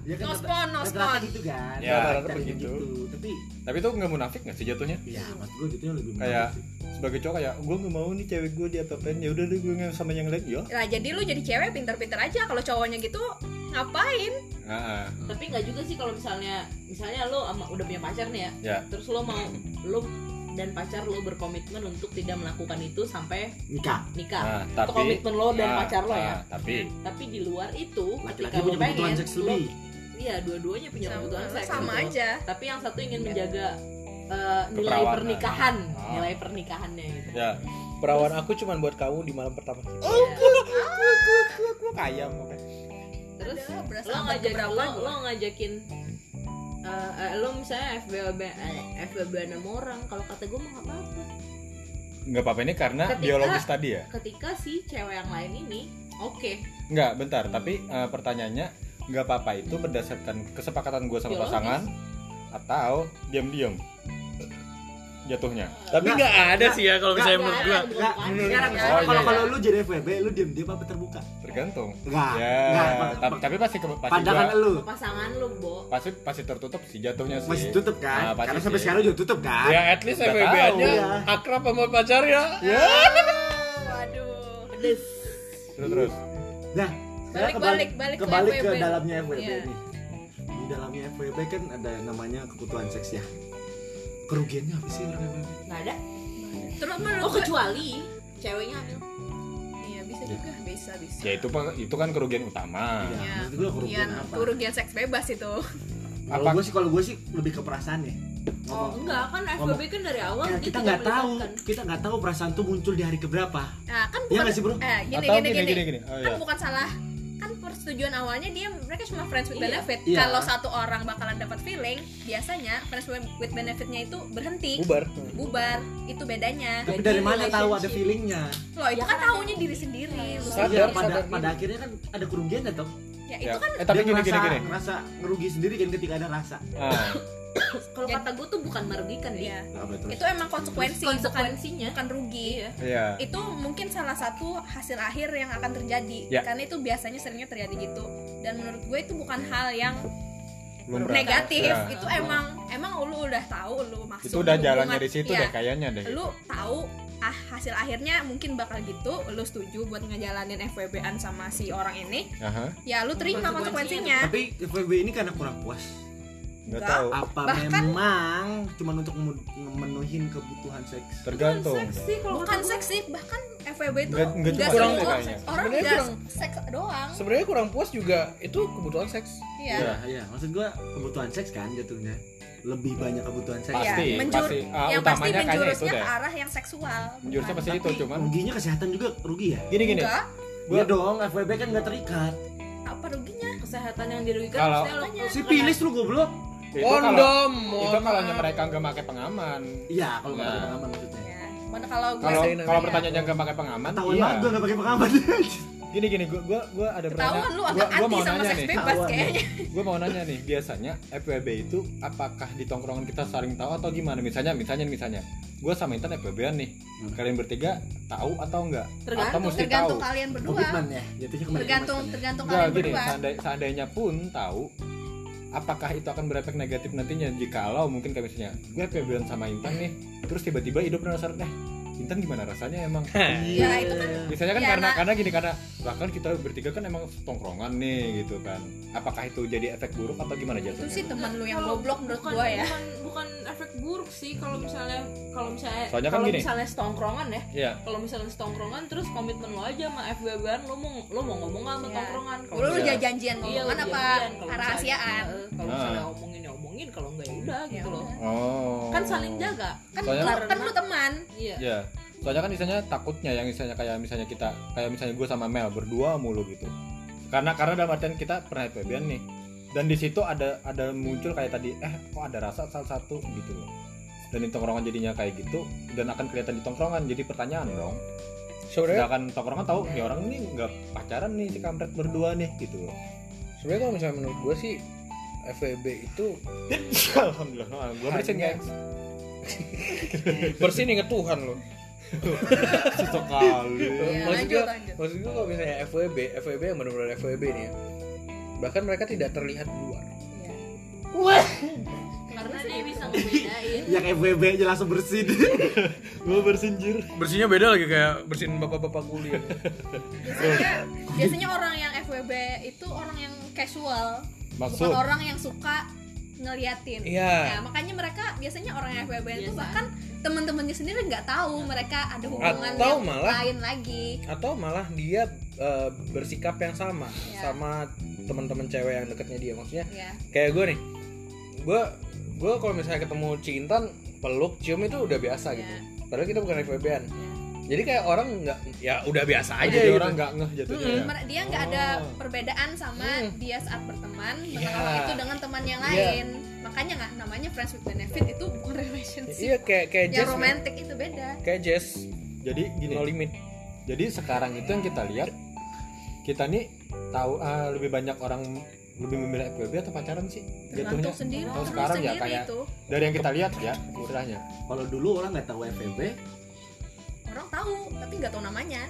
[SPEAKER 2] ya
[SPEAKER 6] No
[SPEAKER 2] rata-
[SPEAKER 6] spawn, no
[SPEAKER 2] rata-rata
[SPEAKER 6] spawn.
[SPEAKER 2] gitu kan
[SPEAKER 1] Ya,
[SPEAKER 2] Rata-rata
[SPEAKER 1] rata-rata
[SPEAKER 2] carinya
[SPEAKER 1] begitu.
[SPEAKER 2] tapi
[SPEAKER 1] tapi itu nggak munafik nggak sih jatuhnya
[SPEAKER 2] ya maksud gue jadinya lebih menarik
[SPEAKER 1] kayak
[SPEAKER 2] sih.
[SPEAKER 1] sebagai cowok kayak gue nggak mau nih cewek gue diapa-apain ya udah deh gue nggak sama yang lain ya
[SPEAKER 6] Nah, jadi lu jadi cewek pinter-pinter aja kalau cowoknya gitu ngapain?
[SPEAKER 1] Ah, ah.
[SPEAKER 3] tapi nggak juga sih kalau misalnya misalnya lo ama, udah punya pacar nih ya,
[SPEAKER 1] Ya.
[SPEAKER 3] terus lo mau lo dan pacar lo berkomitmen untuk tidak melakukan itu sampai
[SPEAKER 2] nikah
[SPEAKER 3] nikah
[SPEAKER 1] Nah,
[SPEAKER 3] itu
[SPEAKER 1] tapi-
[SPEAKER 3] komitmen lo dan
[SPEAKER 1] Ah,
[SPEAKER 3] pacar lo ya
[SPEAKER 1] ah, tapi
[SPEAKER 3] tapi di luar itu
[SPEAKER 2] laki-laki
[SPEAKER 3] ketika lo
[SPEAKER 2] punya kebutuhan
[SPEAKER 3] pengen
[SPEAKER 2] seks
[SPEAKER 3] lo
[SPEAKER 2] lebih
[SPEAKER 3] iya dua-duanya
[SPEAKER 2] Ya,
[SPEAKER 3] punya kebutuhan
[SPEAKER 6] Sama,
[SPEAKER 3] seks
[SPEAKER 6] sama
[SPEAKER 3] gitu.
[SPEAKER 6] aja.
[SPEAKER 3] tapi yang satu ingin menjaga eh, nilai
[SPEAKER 1] Keperawanan.
[SPEAKER 3] pernikahan
[SPEAKER 1] Ah.
[SPEAKER 3] nilai pernikahannya gitu
[SPEAKER 1] ya
[SPEAKER 4] Perawan aku cuma buat kamu di malam pertama.
[SPEAKER 1] gue kaya oke
[SPEAKER 3] terus
[SPEAKER 6] Adalah, berasa
[SPEAKER 3] lo
[SPEAKER 6] abad
[SPEAKER 3] ngajak
[SPEAKER 6] keberapa
[SPEAKER 3] lo,
[SPEAKER 6] gua.
[SPEAKER 3] lo ngajakin eh, eh, lo misalnya FBB FBB enam orang kalau kata gue mah nggak apa-apa
[SPEAKER 1] nggak apa-apa ini karena
[SPEAKER 3] Ketika-
[SPEAKER 1] biologis tadi ya
[SPEAKER 3] ketika si cewek yang lain ini oke
[SPEAKER 1] nggak bentar tapi eh, pertanyaannya nggak apa-apa itu berdasarkan kesepakatan gue sama
[SPEAKER 3] Biologis.
[SPEAKER 1] pasangan atau diam-diam jatuhnya
[SPEAKER 4] Tapi nggak ada sih ya kalau misalnya
[SPEAKER 3] nggak
[SPEAKER 4] menurut
[SPEAKER 3] ada
[SPEAKER 4] gua.
[SPEAKER 2] Nggak,
[SPEAKER 3] yang berubah.
[SPEAKER 2] sekarang
[SPEAKER 6] iya,
[SPEAKER 2] sekarang kalau
[SPEAKER 4] iya.
[SPEAKER 2] kalau lu jadi FWB lu diam-diam apa terbuka?
[SPEAKER 1] tergantung
[SPEAKER 2] Enggak.
[SPEAKER 1] ya tapi, tapi pasti ke- pasti
[SPEAKER 2] Pandangan
[SPEAKER 1] gua-
[SPEAKER 2] lu
[SPEAKER 3] pasangan lo bo
[SPEAKER 1] pasti pasti tertutup sih jatuhnya sih
[SPEAKER 2] masih tutup kan?
[SPEAKER 1] Ah, pasti
[SPEAKER 2] Karena sampai
[SPEAKER 1] sih.
[SPEAKER 2] sekarang juga tutup kan?
[SPEAKER 4] Ya at least
[SPEAKER 1] Nggak
[SPEAKER 4] FWB-nya
[SPEAKER 2] tahu.
[SPEAKER 4] akrab sama ya. pacarnya.
[SPEAKER 6] Waduh.
[SPEAKER 1] terus terus
[SPEAKER 2] Nah, sekarang
[SPEAKER 6] Balik,
[SPEAKER 2] kebalik-
[SPEAKER 6] balik, balik ke
[SPEAKER 2] kebalik ke
[SPEAKER 6] FWB.
[SPEAKER 2] dalamnya FWB
[SPEAKER 6] Iya.
[SPEAKER 2] nih. Di dalamnya FWB kan ada namanya kebutuhan seks ya. Kerugiannya apa sih orang
[SPEAKER 1] Ah.
[SPEAKER 2] FWB?
[SPEAKER 3] nggak ada
[SPEAKER 6] Terus menurut
[SPEAKER 3] oh
[SPEAKER 6] gue
[SPEAKER 3] kecuali ceweknya hamil
[SPEAKER 6] Iya bisa juga, bisa bisa.
[SPEAKER 1] ya itu pe- itu kan kerugian utama
[SPEAKER 2] Iya,
[SPEAKER 6] Iya.
[SPEAKER 2] maksud gua kerugian
[SPEAKER 6] Kerugian,
[SPEAKER 2] apa?
[SPEAKER 6] kerugian seks bebas itu.
[SPEAKER 2] Kalau
[SPEAKER 1] Apa-
[SPEAKER 2] gue sih kalau gue sih lebih ke perasaan ya.
[SPEAKER 3] oh
[SPEAKER 2] Ngomong.
[SPEAKER 3] enggak kan FBB kan dari awal
[SPEAKER 2] Ya,
[SPEAKER 3] dia
[SPEAKER 2] kita
[SPEAKER 3] tidak
[SPEAKER 2] nggak tahu,
[SPEAKER 3] melibatkan.
[SPEAKER 2] kita nggak tahu perasaan tuh muncul di hari keberapa.
[SPEAKER 6] Nah, kan
[SPEAKER 2] Iya
[SPEAKER 6] bukan
[SPEAKER 2] nggak sih, Bro?
[SPEAKER 6] eh gini
[SPEAKER 1] atau
[SPEAKER 6] gini gini.
[SPEAKER 1] Oh,
[SPEAKER 6] Kan
[SPEAKER 1] iya.
[SPEAKER 6] bukan salah kan persetujuan awalnya dia mereka cuma friends with
[SPEAKER 3] Iya.
[SPEAKER 6] benefit.
[SPEAKER 2] Iya.
[SPEAKER 6] Kalau satu orang bakalan dapat feeling, biasanya friends with benefitnya itu berhenti,
[SPEAKER 4] Bubar.
[SPEAKER 6] bubar. Itu bedanya.
[SPEAKER 1] Iya.
[SPEAKER 2] Tapi
[SPEAKER 3] Jadi
[SPEAKER 2] dari mana tahu ada
[SPEAKER 3] relationship.
[SPEAKER 2] feelingnya?
[SPEAKER 6] Loh, itu
[SPEAKER 3] Ya,
[SPEAKER 6] kan
[SPEAKER 3] kan
[SPEAKER 6] taunya
[SPEAKER 3] ada-
[SPEAKER 6] diri sendiri. lu
[SPEAKER 3] Sadar,
[SPEAKER 2] Iya,
[SPEAKER 6] sendiri.
[SPEAKER 2] pada
[SPEAKER 4] sadar
[SPEAKER 2] pada akhirnya kan ada kerugian ya toh.
[SPEAKER 1] Ya.
[SPEAKER 6] Ya, itu kan
[SPEAKER 1] eh, tapi
[SPEAKER 2] Dia
[SPEAKER 1] gini
[SPEAKER 2] ngerasa,
[SPEAKER 1] gini gini
[SPEAKER 2] ngerasa ngerugi sendiri kan ketika ada rasa.
[SPEAKER 1] Ah,
[SPEAKER 3] kalau kata gue tuh bukan merugikan
[SPEAKER 6] ya.
[SPEAKER 3] dia
[SPEAKER 6] Itu emang konsekuensi, bukan
[SPEAKER 3] konsekuensinya
[SPEAKER 6] bukan rugi.
[SPEAKER 1] iya
[SPEAKER 6] Itu mungkin salah satu hasil akhir yang akan terjadi.
[SPEAKER 1] Ya.
[SPEAKER 6] Karena itu biasanya seringnya terjadi gitu. Dan menurut gue itu bukan hal yang
[SPEAKER 1] lumrah.
[SPEAKER 6] negatif.
[SPEAKER 1] Ya.
[SPEAKER 6] Itu emang emang lu udah tahu lu maksud
[SPEAKER 1] itu udah
[SPEAKER 6] lu
[SPEAKER 1] jalannya
[SPEAKER 6] hubungan-
[SPEAKER 1] di situ
[SPEAKER 6] Iya.
[SPEAKER 1] deh kayaknya deh
[SPEAKER 6] Lu tahu ah hasil akhirnya mungkin bakal gitu, lu setuju buat ngejalanin FWB-an sama si orang ini,
[SPEAKER 1] Aha,
[SPEAKER 6] ya lu terima
[SPEAKER 3] Konsekuensinya.
[SPEAKER 6] konsekuensinya.
[SPEAKER 2] Tapi FWB ini karena kurang puas.
[SPEAKER 1] nggak
[SPEAKER 6] Nggak.
[SPEAKER 1] tahu
[SPEAKER 2] Apa
[SPEAKER 6] Bahkan-
[SPEAKER 2] memang cuman untuk memu- memenuhin kebutuhan seks?
[SPEAKER 1] tergantung
[SPEAKER 3] seksi kalau
[SPEAKER 6] Bukan
[SPEAKER 3] kata gua.
[SPEAKER 6] seks sih, bahkan FWB itu
[SPEAKER 1] Nggak- nggak
[SPEAKER 6] nggak
[SPEAKER 1] cuma
[SPEAKER 4] kurang
[SPEAKER 6] semua
[SPEAKER 1] seks kayaknya.
[SPEAKER 6] orang
[SPEAKER 4] Sebenarnya
[SPEAKER 6] nggak
[SPEAKER 4] kurang-
[SPEAKER 6] seks doang.
[SPEAKER 4] Sebenarnya kurang puas juga itu kebutuhan seks.
[SPEAKER 6] Iya.
[SPEAKER 2] Iya, iya. Maksud gua kebutuhan seks kan jatuhnya. Lebih banyak kebutuhan seks.
[SPEAKER 1] Pasti,
[SPEAKER 6] Iya, menjur-
[SPEAKER 1] pasti. Ah,
[SPEAKER 6] yang pasti
[SPEAKER 1] utamanya kayaknya itu
[SPEAKER 6] menjurusnya
[SPEAKER 1] deh.
[SPEAKER 6] ke arah yang seksual.
[SPEAKER 1] jurusnya
[SPEAKER 6] bukan.
[SPEAKER 1] pasti itu cuman
[SPEAKER 2] Ruginya kesehatan juga rugi ya?
[SPEAKER 1] gini gini
[SPEAKER 6] Enggak,
[SPEAKER 2] Iya dong, FWB kan nggak terikat.
[SPEAKER 6] apa ruginya?
[SPEAKER 3] kesehatan yang dirugikan
[SPEAKER 1] Kalau-
[SPEAKER 3] maksudnya lo-
[SPEAKER 6] Iya,
[SPEAKER 3] lo-
[SPEAKER 2] Si pilis lu goblok.
[SPEAKER 1] itu kalau
[SPEAKER 4] Kondom.
[SPEAKER 1] itu kalau mereka nggak pakai pengaman
[SPEAKER 2] Iya, kalau nggak
[SPEAKER 1] Nah.
[SPEAKER 2] ada pengaman maksudnya.
[SPEAKER 6] Ya, mana kalau gue
[SPEAKER 1] kalau
[SPEAKER 4] Iya.
[SPEAKER 1] kalau pertanyaannya nggak pakai pengaman
[SPEAKER 2] Ketahuan
[SPEAKER 1] iya
[SPEAKER 2] banget gue nggak pakai pengaman.
[SPEAKER 1] gini gini gua gua gua ada
[SPEAKER 6] ketahuan
[SPEAKER 1] pertanyaan
[SPEAKER 6] kan lu
[SPEAKER 1] gua,
[SPEAKER 6] agak
[SPEAKER 1] gua
[SPEAKER 6] anti
[SPEAKER 1] mau
[SPEAKER 6] sama
[SPEAKER 1] nanya
[SPEAKER 6] seks
[SPEAKER 1] nih kan
[SPEAKER 6] bebas
[SPEAKER 2] Ketahuan.
[SPEAKER 6] kayaknya.
[SPEAKER 1] gua mau nanya nih biasanya FWB itu apakah di tongkrongan kita saling tahu atau gimana misalnya misalnya misalnya gua sama Intan FWB-an nih
[SPEAKER 2] Hmm.
[SPEAKER 1] kalian bertiga tahu atau enggak atau mesti
[SPEAKER 3] Tergantung,
[SPEAKER 1] tahu
[SPEAKER 6] Kan? Tergantung kalian berdua.
[SPEAKER 2] Komitmen ya, jatuhnya ke ya.
[SPEAKER 6] Tergantung tergantung
[SPEAKER 1] Enggak
[SPEAKER 6] kalian
[SPEAKER 1] gini,
[SPEAKER 6] berdua.
[SPEAKER 1] seandai- seandainya pun tahu apakah itu akan berefek negatif nantinya jikalau mungkin kayak misalnya gue FWB-an sama Intan nih terus tiba-tiba hidup penasaran eh Intan gimana rasanya emang
[SPEAKER 2] Iya.
[SPEAKER 6] Ya, itu kan
[SPEAKER 1] biasanya kan
[SPEAKER 6] Ya,
[SPEAKER 1] karena
[SPEAKER 6] nah.
[SPEAKER 1] karena gini karena bahkan kita bertiga kan emang tongkrongan nih gitu kan apakah itu jadi efek buruk atau gimana
[SPEAKER 6] itu
[SPEAKER 1] jatuhnya
[SPEAKER 6] sih teman lu yang
[SPEAKER 3] Kalau
[SPEAKER 6] goblok menurut
[SPEAKER 3] bukan-
[SPEAKER 6] gua ya.
[SPEAKER 3] bukan, bukan efek buruk sih kalau misalnya kalau misalnya
[SPEAKER 1] Soalnya kan
[SPEAKER 3] kalau
[SPEAKER 1] gini.
[SPEAKER 3] misalnya setongkrongan ya
[SPEAKER 1] Iya.
[SPEAKER 3] kalau misalnya setongkrongan terus komitmen lo aja sama FBB an lo mau lo mau ngomong nggak sama
[SPEAKER 6] Iya.
[SPEAKER 3] tongkrongan
[SPEAKER 6] Lu lu
[SPEAKER 1] Iya.
[SPEAKER 6] udah
[SPEAKER 3] iya,
[SPEAKER 6] janjian ngomongan
[SPEAKER 3] lo
[SPEAKER 6] apa
[SPEAKER 3] janjian. Kalau misalnya-
[SPEAKER 6] rahasiaan?
[SPEAKER 3] Heeh, kalau
[SPEAKER 1] Ah.
[SPEAKER 3] misalnya omongin ya omongin kalau enggak ya udah gitu
[SPEAKER 6] Ya
[SPEAKER 3] loh
[SPEAKER 6] udah.
[SPEAKER 1] oh
[SPEAKER 3] kan saling jaga
[SPEAKER 6] Kan
[SPEAKER 1] Soalnya-
[SPEAKER 6] lu- kan lu teman.
[SPEAKER 3] iya
[SPEAKER 1] ya soalnya kan misalnya takutnya yang misalnya kayak misalnya kita kayak misalnya gue sama Mel berdua mulu gitu karena karena dalam artian kita pernah FBB nih dan di situ ada ada muncul kayak tadi eh kok ada rasa salah satu gitu loh dan di tongkrongan jadinya kayak gitu dan akan kelihatan di tongkrongan jadi pertanyaan dong
[SPEAKER 4] Sebenarnya
[SPEAKER 1] sedangkan tongkrongan tahu ya orang ini nggak pacaran nih si kampret berdua nih gitu loh
[SPEAKER 4] sebenarnya kalau misalnya menurut gua sih FWB itu
[SPEAKER 1] Alhamdulillah, gue bersin
[SPEAKER 4] Hanya-
[SPEAKER 1] guys.
[SPEAKER 4] bersin inget Tuhan loh.
[SPEAKER 1] Sesekali.
[SPEAKER 6] Iya,
[SPEAKER 4] Maksud
[SPEAKER 6] lanjut,
[SPEAKER 4] gua-
[SPEAKER 6] lanjut.
[SPEAKER 4] Maksud gua kalau misalnya FWB, FWB yang benar-benar FWB nih ya. Bahkan mereka tidak terlihat di luar.
[SPEAKER 6] Iya.
[SPEAKER 3] karena dia bisa ngebedain
[SPEAKER 2] Yang FWB aja langsung bersih.
[SPEAKER 1] Gue bersinjir.
[SPEAKER 4] Bersihnya beda lagi kayak bersihin bapak-bapak kuliah.
[SPEAKER 6] Biasanya, biasanya orang yang FWB itu orang yang casual,
[SPEAKER 1] Maksud?
[SPEAKER 6] bukan orang yang suka ngeliatin.
[SPEAKER 4] Iya.
[SPEAKER 6] Ya, makanya mereka biasanya orang yang FWB itu
[SPEAKER 3] Biasa.
[SPEAKER 6] bahkan teman-temannya sendiri nggak tahu mereka ada hubungan
[SPEAKER 4] Atau
[SPEAKER 6] yang
[SPEAKER 4] malah-
[SPEAKER 6] lain lagi.
[SPEAKER 4] atau malah dia eh, bersikap yang sama
[SPEAKER 6] Iya.
[SPEAKER 4] sama teman-teman cewek yang deketnya dia maksudnya
[SPEAKER 6] Ya.
[SPEAKER 4] kayak gue nih gue gue kalau misalnya ketemu cintan peluk cium itu udah biasa gitu
[SPEAKER 6] Iya.
[SPEAKER 4] padahal kita bukan FWB-an jadi kayak orang nggak ya udah biasa aja
[SPEAKER 1] Jadi
[SPEAKER 4] gitu.
[SPEAKER 1] orang nggak ngeh jatuhnya. ya.
[SPEAKER 6] Mer- Dia nggak ada perbedaan sama dia saat berteman,
[SPEAKER 4] Iya.
[SPEAKER 6] berteman itu dengan teman yang
[SPEAKER 4] Iya.
[SPEAKER 6] lain. makanya nggak namanya friends with benefit itu bukan relationship
[SPEAKER 4] Iya kayak kayak
[SPEAKER 6] yang
[SPEAKER 4] jazz. man.
[SPEAKER 6] romantic itu beda
[SPEAKER 4] Kayak jazz.
[SPEAKER 1] jadi gini
[SPEAKER 4] No limit.
[SPEAKER 1] jadi sekarang itu yang kita lihat kita nih tahu ah, lebih banyak orang lebih memilih FWB atau pacaran sih jatuhnya
[SPEAKER 6] tergantung sendiri
[SPEAKER 1] Kalau
[SPEAKER 6] terus
[SPEAKER 1] sekarang ya
[SPEAKER 6] sendiri
[SPEAKER 1] kayak-
[SPEAKER 6] itu
[SPEAKER 1] dari yang kita lihat ya istilahnya
[SPEAKER 2] Kalau dulu orang nggak tahu FWB,
[SPEAKER 6] orang tahu tapi nggak tahu namanya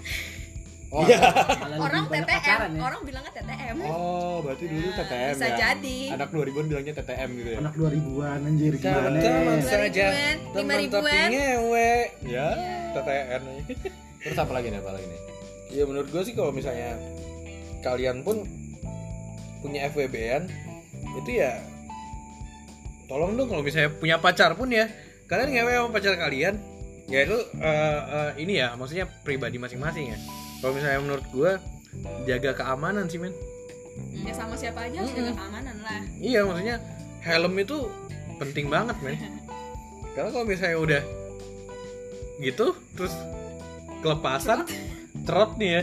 [SPEAKER 1] oh,
[SPEAKER 4] Iya.
[SPEAKER 2] malah lebih
[SPEAKER 6] orang
[SPEAKER 2] banyak
[SPEAKER 6] TTM
[SPEAKER 2] pacaran ya.
[SPEAKER 6] orang bilangnya TTM
[SPEAKER 1] oh berarti dulu
[SPEAKER 6] Nah,
[SPEAKER 1] TTM
[SPEAKER 6] bisa
[SPEAKER 1] ya
[SPEAKER 6] jadi
[SPEAKER 1] anak 2000-an bilangnya TTM gitu ya
[SPEAKER 2] Anak 2000-an anjir
[SPEAKER 4] Teman-
[SPEAKER 2] gimana?
[SPEAKER 4] teman
[SPEAKER 6] Dua
[SPEAKER 4] saja.
[SPEAKER 6] ribuan, lima
[SPEAKER 4] Teman tapi
[SPEAKER 6] ribuan
[SPEAKER 4] ngewe.
[SPEAKER 1] ya
[SPEAKER 4] TTN.
[SPEAKER 1] terus apa lagi nih apa lagi nih
[SPEAKER 4] Ya menurut gue sih kalau misalnya kalian pun punya FWB-an itu ya tolong dong kalau misalnya punya pacar pun ya kalian ngewe sama pacar kalian ya itu eh, eh, ini ya maksudnya pribadi masing-masing ya kalau misalnya menurut gue jaga keamanan sih men
[SPEAKER 6] ya sama siapa aja harus jaga keamanan lah
[SPEAKER 4] Iya maksudnya helm itu penting banget men Karena kalau misalnya udah gitu terus kelepasan trot nih ya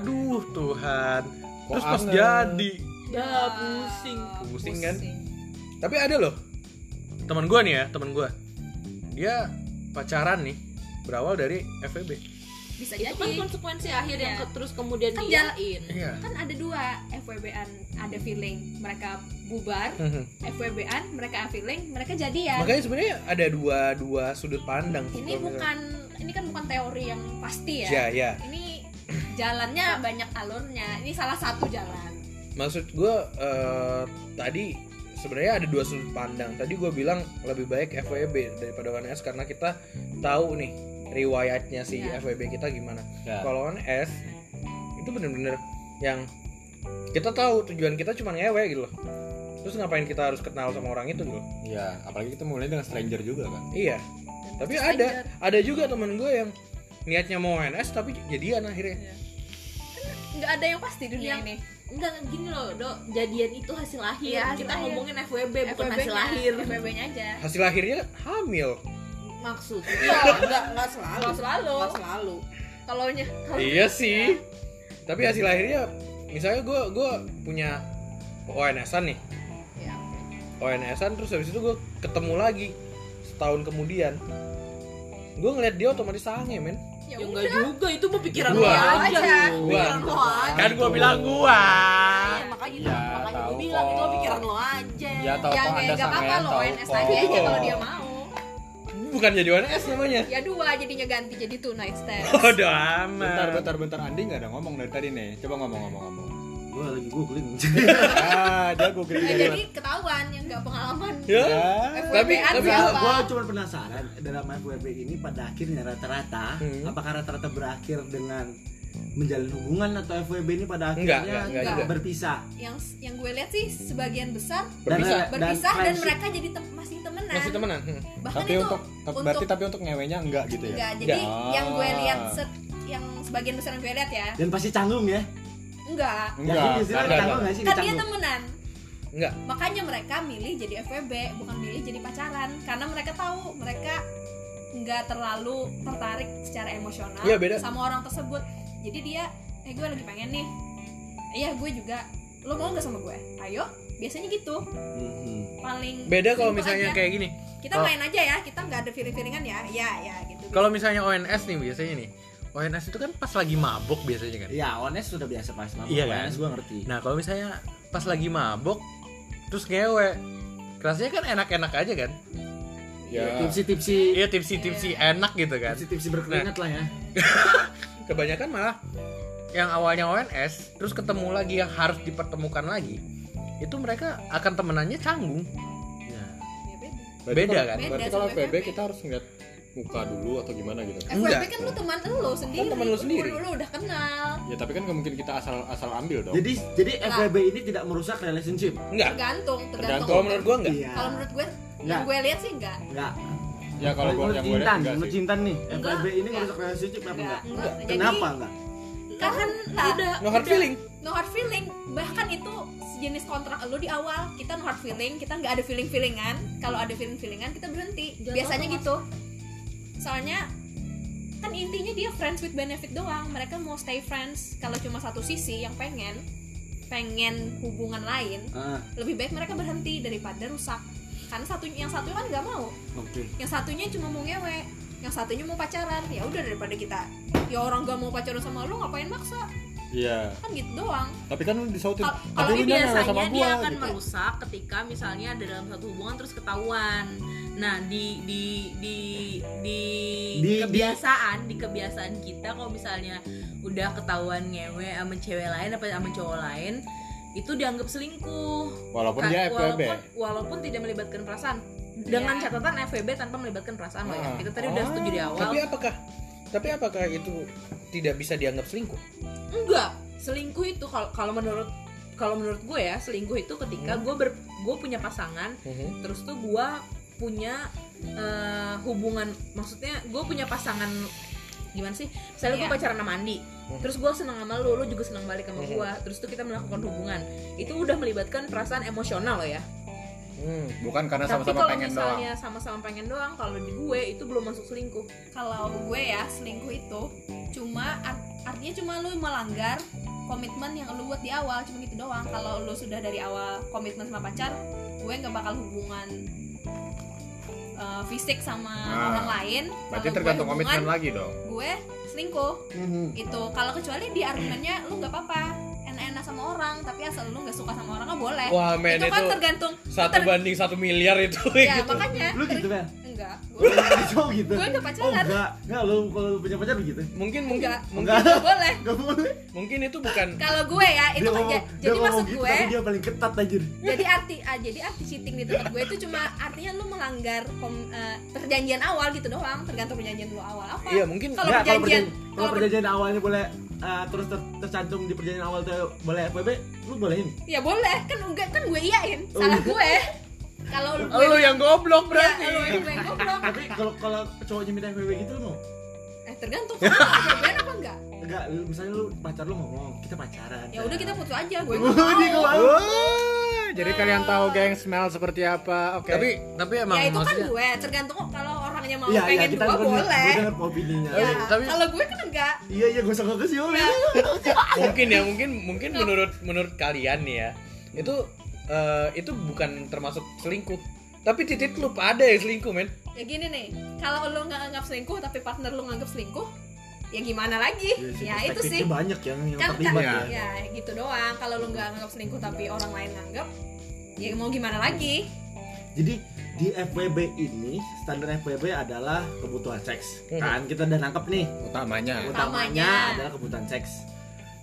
[SPEAKER 4] Aduh Tuhan Terus pas
[SPEAKER 1] aneh.
[SPEAKER 4] jadi
[SPEAKER 6] Ya,
[SPEAKER 3] Dah Ya, pusing.
[SPEAKER 4] Pusing kan? Tapi ada loh teman gua nih ya teman gua Dia pacaran nih berawal dari FEB
[SPEAKER 6] bisa
[SPEAKER 3] Itu kan
[SPEAKER 6] jadi
[SPEAKER 3] konsekuensi akhir yang
[SPEAKER 6] Iya.
[SPEAKER 3] ke- terus kemudian
[SPEAKER 6] Kan jalan-
[SPEAKER 3] diiyain.
[SPEAKER 4] Iya
[SPEAKER 6] kan ada dua FWB-an ada feeling mereka bubar FWB-an mereka feeling mereka jadian
[SPEAKER 4] Makanya sebenarnya ada dua dua sudut pandang sih
[SPEAKER 6] ini
[SPEAKER 4] kalau misalnya.
[SPEAKER 6] bukan ini kan bukan teori yang pasti
[SPEAKER 4] Ya
[SPEAKER 6] ya
[SPEAKER 4] ya
[SPEAKER 6] ini jalannya banyak alurnya ini salah satu jalan
[SPEAKER 4] maksud gue tadi sebenarnya ada dua sudut pandang tadi gue bilang lebih baik FWB daripada ONS karena kita tahu nih riwayatnya si
[SPEAKER 6] Ya.
[SPEAKER 4] FWB kita gimana
[SPEAKER 1] Ya.
[SPEAKER 4] kalau ONS itu bener-bener yang kita tahu tujuan kita cuma ngewe gitu loh terus ngapain kita harus kenal sama orang itu gitu loh
[SPEAKER 1] ya apalagi kita mulai dengan stranger juga kan
[SPEAKER 4] iya tapi ada ada juga teman gue yang niatnya mau ONS tapi jadian akhirnya
[SPEAKER 6] nggak ada yang pasti dunia
[SPEAKER 3] Iya.
[SPEAKER 6] ini
[SPEAKER 3] Enggak gini loh, Dok. Jadian itu hasil akhir.
[SPEAKER 6] Iya, hasil
[SPEAKER 3] Kita
[SPEAKER 6] akhir.
[SPEAKER 3] ngomongin FWB Ya, bukan
[SPEAKER 6] FWB-nya,
[SPEAKER 3] hasil akhir.
[SPEAKER 6] FWB-nya aja
[SPEAKER 4] hasil akhirnya hamil
[SPEAKER 3] Maksudnya
[SPEAKER 7] Enggak, enggak selalu.
[SPEAKER 6] kalau Iya. selalu
[SPEAKER 7] Enggak selalu.
[SPEAKER 6] kalau nya
[SPEAKER 4] Iya sih. Tapi hasil akhirnya misalnya gue gue punya ONS-an nih.
[SPEAKER 7] Iya.
[SPEAKER 4] ONS-an terus habis itu gue ketemu lagi setahun kemudian. Gue ngeliat dia otomatis sange men.
[SPEAKER 6] ya
[SPEAKER 3] ya
[SPEAKER 6] udah
[SPEAKER 3] enggak juga, itu mah pikiran
[SPEAKER 4] Gua.
[SPEAKER 3] lo aja.
[SPEAKER 6] Aja.
[SPEAKER 3] Pikiran lo aja.
[SPEAKER 4] Kan gue bilang gue.
[SPEAKER 3] Ya, makanya
[SPEAKER 1] Iya,
[SPEAKER 3] makanya
[SPEAKER 1] tahu
[SPEAKER 3] gue bilang itu
[SPEAKER 1] kok.
[SPEAKER 3] pikiran lo aja.
[SPEAKER 1] ya tau
[SPEAKER 6] ya
[SPEAKER 1] kok
[SPEAKER 6] nggak
[SPEAKER 1] ada
[SPEAKER 6] nggak apa-apa
[SPEAKER 1] sangean
[SPEAKER 6] loh
[SPEAKER 1] tau
[SPEAKER 6] ONS
[SPEAKER 1] kok
[SPEAKER 6] lagi aja kalau dia mau
[SPEAKER 4] Bukan jadi ONS namanya.
[SPEAKER 6] ya dua jadinya ganti jadi two night stand
[SPEAKER 4] Bodoh amat.
[SPEAKER 1] bentar bentar bentar Andi nggak ada ngomong dari tadi nih coba ngomong ngomong ngomong
[SPEAKER 2] Gua lagi googling.
[SPEAKER 1] ah dia gue
[SPEAKER 6] Ya,
[SPEAKER 1] kira
[SPEAKER 6] jadi ketahuan yang nggak pengalaman
[SPEAKER 4] Ya.
[SPEAKER 1] Iya. Ah.
[SPEAKER 6] FWB-an
[SPEAKER 4] Tapi tapi
[SPEAKER 6] siapa?
[SPEAKER 4] gua-
[SPEAKER 2] Gua cuma penasaran dalam FWB ini pada akhirnya rata-rata
[SPEAKER 4] Hmm.
[SPEAKER 2] apakah rata-rata berakhir dengan menjalin hubungan atau FWB ini pada
[SPEAKER 4] Enggak,
[SPEAKER 2] akhirnya
[SPEAKER 4] enggak, enggak
[SPEAKER 6] enggak.
[SPEAKER 4] juga.
[SPEAKER 2] berpisah.
[SPEAKER 6] yang yang gue lihat sih sebagian besar
[SPEAKER 2] dan,
[SPEAKER 4] Berpisah.
[SPEAKER 6] berpisah dan,
[SPEAKER 2] friendship.
[SPEAKER 6] mereka jadi tem- masih temenan
[SPEAKER 4] Masih temenan. Hmm.
[SPEAKER 6] bahkan
[SPEAKER 1] tapi
[SPEAKER 6] Kan itu
[SPEAKER 1] untuk tapi- berarti tapi untuk ngewenya enggak gitu ya
[SPEAKER 4] Iya.
[SPEAKER 6] enggak jadi
[SPEAKER 1] Enggak.
[SPEAKER 6] yang gue lihat set- yang sebagian besar yang gue lihat
[SPEAKER 4] Iya.
[SPEAKER 6] ya
[SPEAKER 2] dan pasti canggung ya.
[SPEAKER 6] enggak
[SPEAKER 1] enggak
[SPEAKER 2] Yakin sih,
[SPEAKER 4] enggak,
[SPEAKER 2] canggung enggak sih
[SPEAKER 6] kan dia
[SPEAKER 2] canggung?
[SPEAKER 6] temenan
[SPEAKER 4] Enggak.
[SPEAKER 6] makanya mereka milih jadi FWB bukan milih jadi pacaran karena mereka tahu mereka nggak terlalu tertarik secara emosional
[SPEAKER 4] Iya, beda.
[SPEAKER 6] sama orang tersebut jadi dia eh gue lagi pengen nih iya gue juga lo mau nggak sama gue ayo biasanya gitu
[SPEAKER 2] Mhm.
[SPEAKER 6] paling
[SPEAKER 4] Beda kalau
[SPEAKER 6] simple
[SPEAKER 4] misalnya
[SPEAKER 6] aja.
[SPEAKER 4] kayak gini.
[SPEAKER 6] kita
[SPEAKER 4] kalau-
[SPEAKER 6] main aja ya kita nggak ada feeling feelingan ya ya ya
[SPEAKER 4] Oh.
[SPEAKER 6] gitu
[SPEAKER 4] Kalau misalnya ONS nih biasanya nih. ONS itu kan pas lagi mabok biasanya kan.
[SPEAKER 2] Ya, honest sudah biasa pas mabuk.
[SPEAKER 4] Iya, kan?
[SPEAKER 2] honest gua ngerti.
[SPEAKER 4] Nah kalau misalnya pas lagi mabok terus ngewe, rasanya kan enak-enak aja kan?
[SPEAKER 1] ya
[SPEAKER 2] Tipsi-tipsi
[SPEAKER 4] Iya tipsi-tipsi enak gitu kan?
[SPEAKER 2] tipsi-tipsi berkeringat lah ya.
[SPEAKER 4] Kebanyakan malah yang awalnya ONS terus ketemu lagi yang harus dipertemukan lagi itu mereka akan temenannya canggung. Iya.
[SPEAKER 2] Ya.
[SPEAKER 6] Ya, beda.
[SPEAKER 1] Berarti
[SPEAKER 4] Beda
[SPEAKER 1] kalau-
[SPEAKER 4] kan?
[SPEAKER 1] berarti
[SPEAKER 6] Beda
[SPEAKER 1] kalau
[SPEAKER 6] sama
[SPEAKER 1] PB
[SPEAKER 6] FWB.
[SPEAKER 1] kita harus ngeliat muka dulu atau gimana gitu
[SPEAKER 4] Enggak.
[SPEAKER 6] FWB kan lu teman lu sendiri
[SPEAKER 4] teman lu sendiri.
[SPEAKER 6] lu udah kenal
[SPEAKER 1] ya tapi kan nggak mungkin kita asal asal ambil dong
[SPEAKER 2] Jadi jadi FWB ini tidak merusak relationship.
[SPEAKER 4] Enggak.
[SPEAKER 6] tergantung
[SPEAKER 4] Ya.
[SPEAKER 6] tergantung
[SPEAKER 4] Kalau menurut gua enggak.
[SPEAKER 2] Iya.
[SPEAKER 6] kalau menurut gue
[SPEAKER 2] Nggak.
[SPEAKER 6] yang gue lihat sih enggak
[SPEAKER 2] enggak.
[SPEAKER 1] ya kalau gue
[SPEAKER 2] Menurut
[SPEAKER 1] yang gue lihat
[SPEAKER 2] Intan,
[SPEAKER 1] enggak
[SPEAKER 2] menurut
[SPEAKER 1] sih
[SPEAKER 2] Intan nih,
[SPEAKER 3] Enggak.
[SPEAKER 2] FWB ini
[SPEAKER 6] Enggak.
[SPEAKER 2] merusak relationship apa enggak?
[SPEAKER 6] enggak Jadi,
[SPEAKER 2] Kenapa enggak?
[SPEAKER 6] kan lah
[SPEAKER 4] No hard feeling.
[SPEAKER 6] no hard feeling bahkan itu sejenis kontrak lu di awal kita no hard feeling kita nggak ada feeling feelingan kalau ada feeling feelingan kita berhenti
[SPEAKER 3] Jatuh
[SPEAKER 6] biasanya
[SPEAKER 3] otomatis.
[SPEAKER 6] gitu soalnya kan intinya dia friends with benefit doang mereka mau stay friends kalau cuma satu sisi yang pengen pengen hubungan lain
[SPEAKER 2] Ah,
[SPEAKER 6] lebih baik mereka berhenti daripada rusak karena satunya yang satu kan nggak mau
[SPEAKER 2] oke.
[SPEAKER 6] yang satunya cuma mau ngewe yang satunya mau pacaran ya udah daripada kita ya orang gak mau pacaran sama lu ngapain maksa
[SPEAKER 1] Iya.
[SPEAKER 6] kan gitu doang
[SPEAKER 1] Tapi kan lu disautin.
[SPEAKER 6] Kal-
[SPEAKER 1] Tapi
[SPEAKER 3] Kalau
[SPEAKER 1] lu
[SPEAKER 3] ini
[SPEAKER 1] jangan ngeles
[SPEAKER 3] biasanya dia akan
[SPEAKER 1] gitu.
[SPEAKER 3] merusak ketika misalnya ada dalam satu hubungan terus ketahuan. Nah di di di di,
[SPEAKER 2] Di-
[SPEAKER 3] kebiasaan di kebiasaan kita kalau misalnya udah ketahuan ngewe sama cewek lain apa sama cowok lain itu dianggap selingkuh.
[SPEAKER 1] Walaupun
[SPEAKER 3] Ka-
[SPEAKER 1] dia FPB.
[SPEAKER 3] walaupun, walaupun tidak melibatkan perasaan dengan
[SPEAKER 6] Iya.
[SPEAKER 3] catatan FWB tanpa melibatkan perasaan loh ya.
[SPEAKER 1] Ah.
[SPEAKER 3] Kita tadi
[SPEAKER 4] Oh.
[SPEAKER 3] udah setuju di awal.
[SPEAKER 4] Tapi apakah tapi apakah itu tidak bisa dianggap selingkuh?
[SPEAKER 3] Enggak, selingkuh itu kalau kalau menurut kalau menurut gue ya selingkuh itu ketika
[SPEAKER 1] Hmm.
[SPEAKER 3] gue ber gue punya pasangan
[SPEAKER 4] Mm-hmm.
[SPEAKER 3] terus tuh gue punya eh, hubungan maksudnya gue punya pasangan gimana sih misalnya gue
[SPEAKER 6] Iya.
[SPEAKER 3] pacaran sama Andi
[SPEAKER 1] Hmm.
[SPEAKER 3] terus gue seneng sama lu lu juga seneng balik sama gue terus tuh kita melakukan hubungan itu udah melibatkan perasaan emosional loh ya
[SPEAKER 4] Hmm.
[SPEAKER 1] Bukan karena
[SPEAKER 3] tapi
[SPEAKER 1] Nah, sama-sama
[SPEAKER 3] kalau
[SPEAKER 1] pengen doang.
[SPEAKER 3] misalnya sama-sama pengen doang kalau di gue itu belum masuk selingkuh
[SPEAKER 6] kalau gue ya selingkuh itu cuma art- artinya cuma lu melanggar komitmen yang lu buat di awal cuma gitu doang kalau lu sudah dari awal komitmen sama pacar gue nggak bakal hubungan eh, fisik sama
[SPEAKER 8] Nah,
[SPEAKER 6] orang lain
[SPEAKER 8] Berarti
[SPEAKER 6] Kalau gue
[SPEAKER 8] tergantung
[SPEAKER 6] hubungan,
[SPEAKER 8] komitmen lagi dong.
[SPEAKER 6] gue selingkuh
[SPEAKER 8] Mm-hmm.
[SPEAKER 6] itu kalau kecuali di argumennya lu nggak apa-apa enak-enak sama orang tapi asal lu nggak suka sama orang nggak boleh
[SPEAKER 4] Wah, Oh, men
[SPEAKER 6] itu kan
[SPEAKER 4] itu
[SPEAKER 6] tergantung
[SPEAKER 4] satu
[SPEAKER 6] ter-
[SPEAKER 4] banding satu miliar itu
[SPEAKER 6] ya
[SPEAKER 4] gitu.
[SPEAKER 6] makanya
[SPEAKER 2] Lu gitu, Bel?
[SPEAKER 6] enggak
[SPEAKER 2] Lu
[SPEAKER 6] gue
[SPEAKER 2] cowok gitu?
[SPEAKER 6] Gue nggak
[SPEAKER 2] Oh,
[SPEAKER 6] pacaran.
[SPEAKER 2] enggak. Enggak, lu kalau lu punya pacar begitu?
[SPEAKER 4] Mungkin mungkin
[SPEAKER 6] enggak
[SPEAKER 4] mungkin,
[SPEAKER 6] enggak boleh
[SPEAKER 2] Enggak boleh.
[SPEAKER 4] mungkin itu bukan
[SPEAKER 6] kalau gue ya itu kan
[SPEAKER 2] dia
[SPEAKER 6] ja- jadi
[SPEAKER 2] ngomong
[SPEAKER 6] maksud
[SPEAKER 2] gitu,
[SPEAKER 6] gue
[SPEAKER 2] tapi dia paling ketat anjir.
[SPEAKER 6] jadi arti ah, jadi arti cheating di tempat gue itu cuma artinya lu melanggar kom- eh, perjanjian awal gitu doang tergantung perjanjian lu awal apa
[SPEAKER 4] Iya, mungkin
[SPEAKER 6] kalau
[SPEAKER 2] Nggak,
[SPEAKER 6] perjanjian
[SPEAKER 2] perjan- kalau
[SPEAKER 6] kalau per-
[SPEAKER 2] perjanjian awalnya boleh eh, terus ter- tercantum di perjanjian awal tuh boleh FWB, lu bolehin.
[SPEAKER 6] ya boleh kan enggak kan gue iyain
[SPEAKER 2] Oh,
[SPEAKER 6] salah
[SPEAKER 2] iya.
[SPEAKER 6] gue kalau lu gue
[SPEAKER 4] lo yang goblok
[SPEAKER 6] ya,
[SPEAKER 4] berarti.
[SPEAKER 6] lu yang gue goblok
[SPEAKER 2] Tapi kalau kalau cowoknya minta FWB gitu lu mau?
[SPEAKER 6] eh tergantung lu mau perjanjian apa enggak
[SPEAKER 2] Enggak, lu- misalnya lu pacar lu ngomong, kita pacaran.
[SPEAKER 6] ya udah kita Oh. putus aja gue
[SPEAKER 2] Wuh, Oh, dia
[SPEAKER 6] enggak
[SPEAKER 2] nggak
[SPEAKER 6] mau
[SPEAKER 2] mau.
[SPEAKER 8] Wah, jadi kalian tahu geng smell seperti apa. Oke.
[SPEAKER 4] Tapi tapi emang
[SPEAKER 6] ya itu kan
[SPEAKER 4] maksudnya
[SPEAKER 6] gue tergantung kok kalau orangnya mau
[SPEAKER 2] Iya, iya,
[SPEAKER 6] pengen
[SPEAKER 2] kita
[SPEAKER 6] dua
[SPEAKER 2] gua denger-
[SPEAKER 6] boleh
[SPEAKER 2] Gua denger Iya, opininya.
[SPEAKER 6] ya
[SPEAKER 4] Tapi-
[SPEAKER 6] kalau gue kan enggak
[SPEAKER 2] Iya, iya, gua sangka ke sih, Om.
[SPEAKER 4] mungkin ya mungkin mungkin menurut menurut kalian nih ya itu eh, itu bukan termasuk selingkuh. Tapi titik lu ada yang selingkuh men.
[SPEAKER 6] ya gini nih kalau lu nggak nganggap selingkuh tapi partner lu nganggap selingkuh ya gimana lagi ya,
[SPEAKER 2] Iya
[SPEAKER 6] itu
[SPEAKER 2] perspektifnya
[SPEAKER 6] sih
[SPEAKER 2] banyak yang yang
[SPEAKER 6] kan, kan
[SPEAKER 2] terlibat
[SPEAKER 8] ya.
[SPEAKER 6] ya. gitu doang kalau lu nggak nganggap selingkuh tapi orang lain nganggap ya mau gimana lagi
[SPEAKER 2] Jadi di FWB ini standar FWB adalah kebutuhan seks.
[SPEAKER 4] Hmm.
[SPEAKER 2] Kan kita udah nangkep nih.
[SPEAKER 4] Nah.
[SPEAKER 8] utamanya
[SPEAKER 2] Utamanya
[SPEAKER 6] Utamanya.
[SPEAKER 2] adalah kebutuhan seks.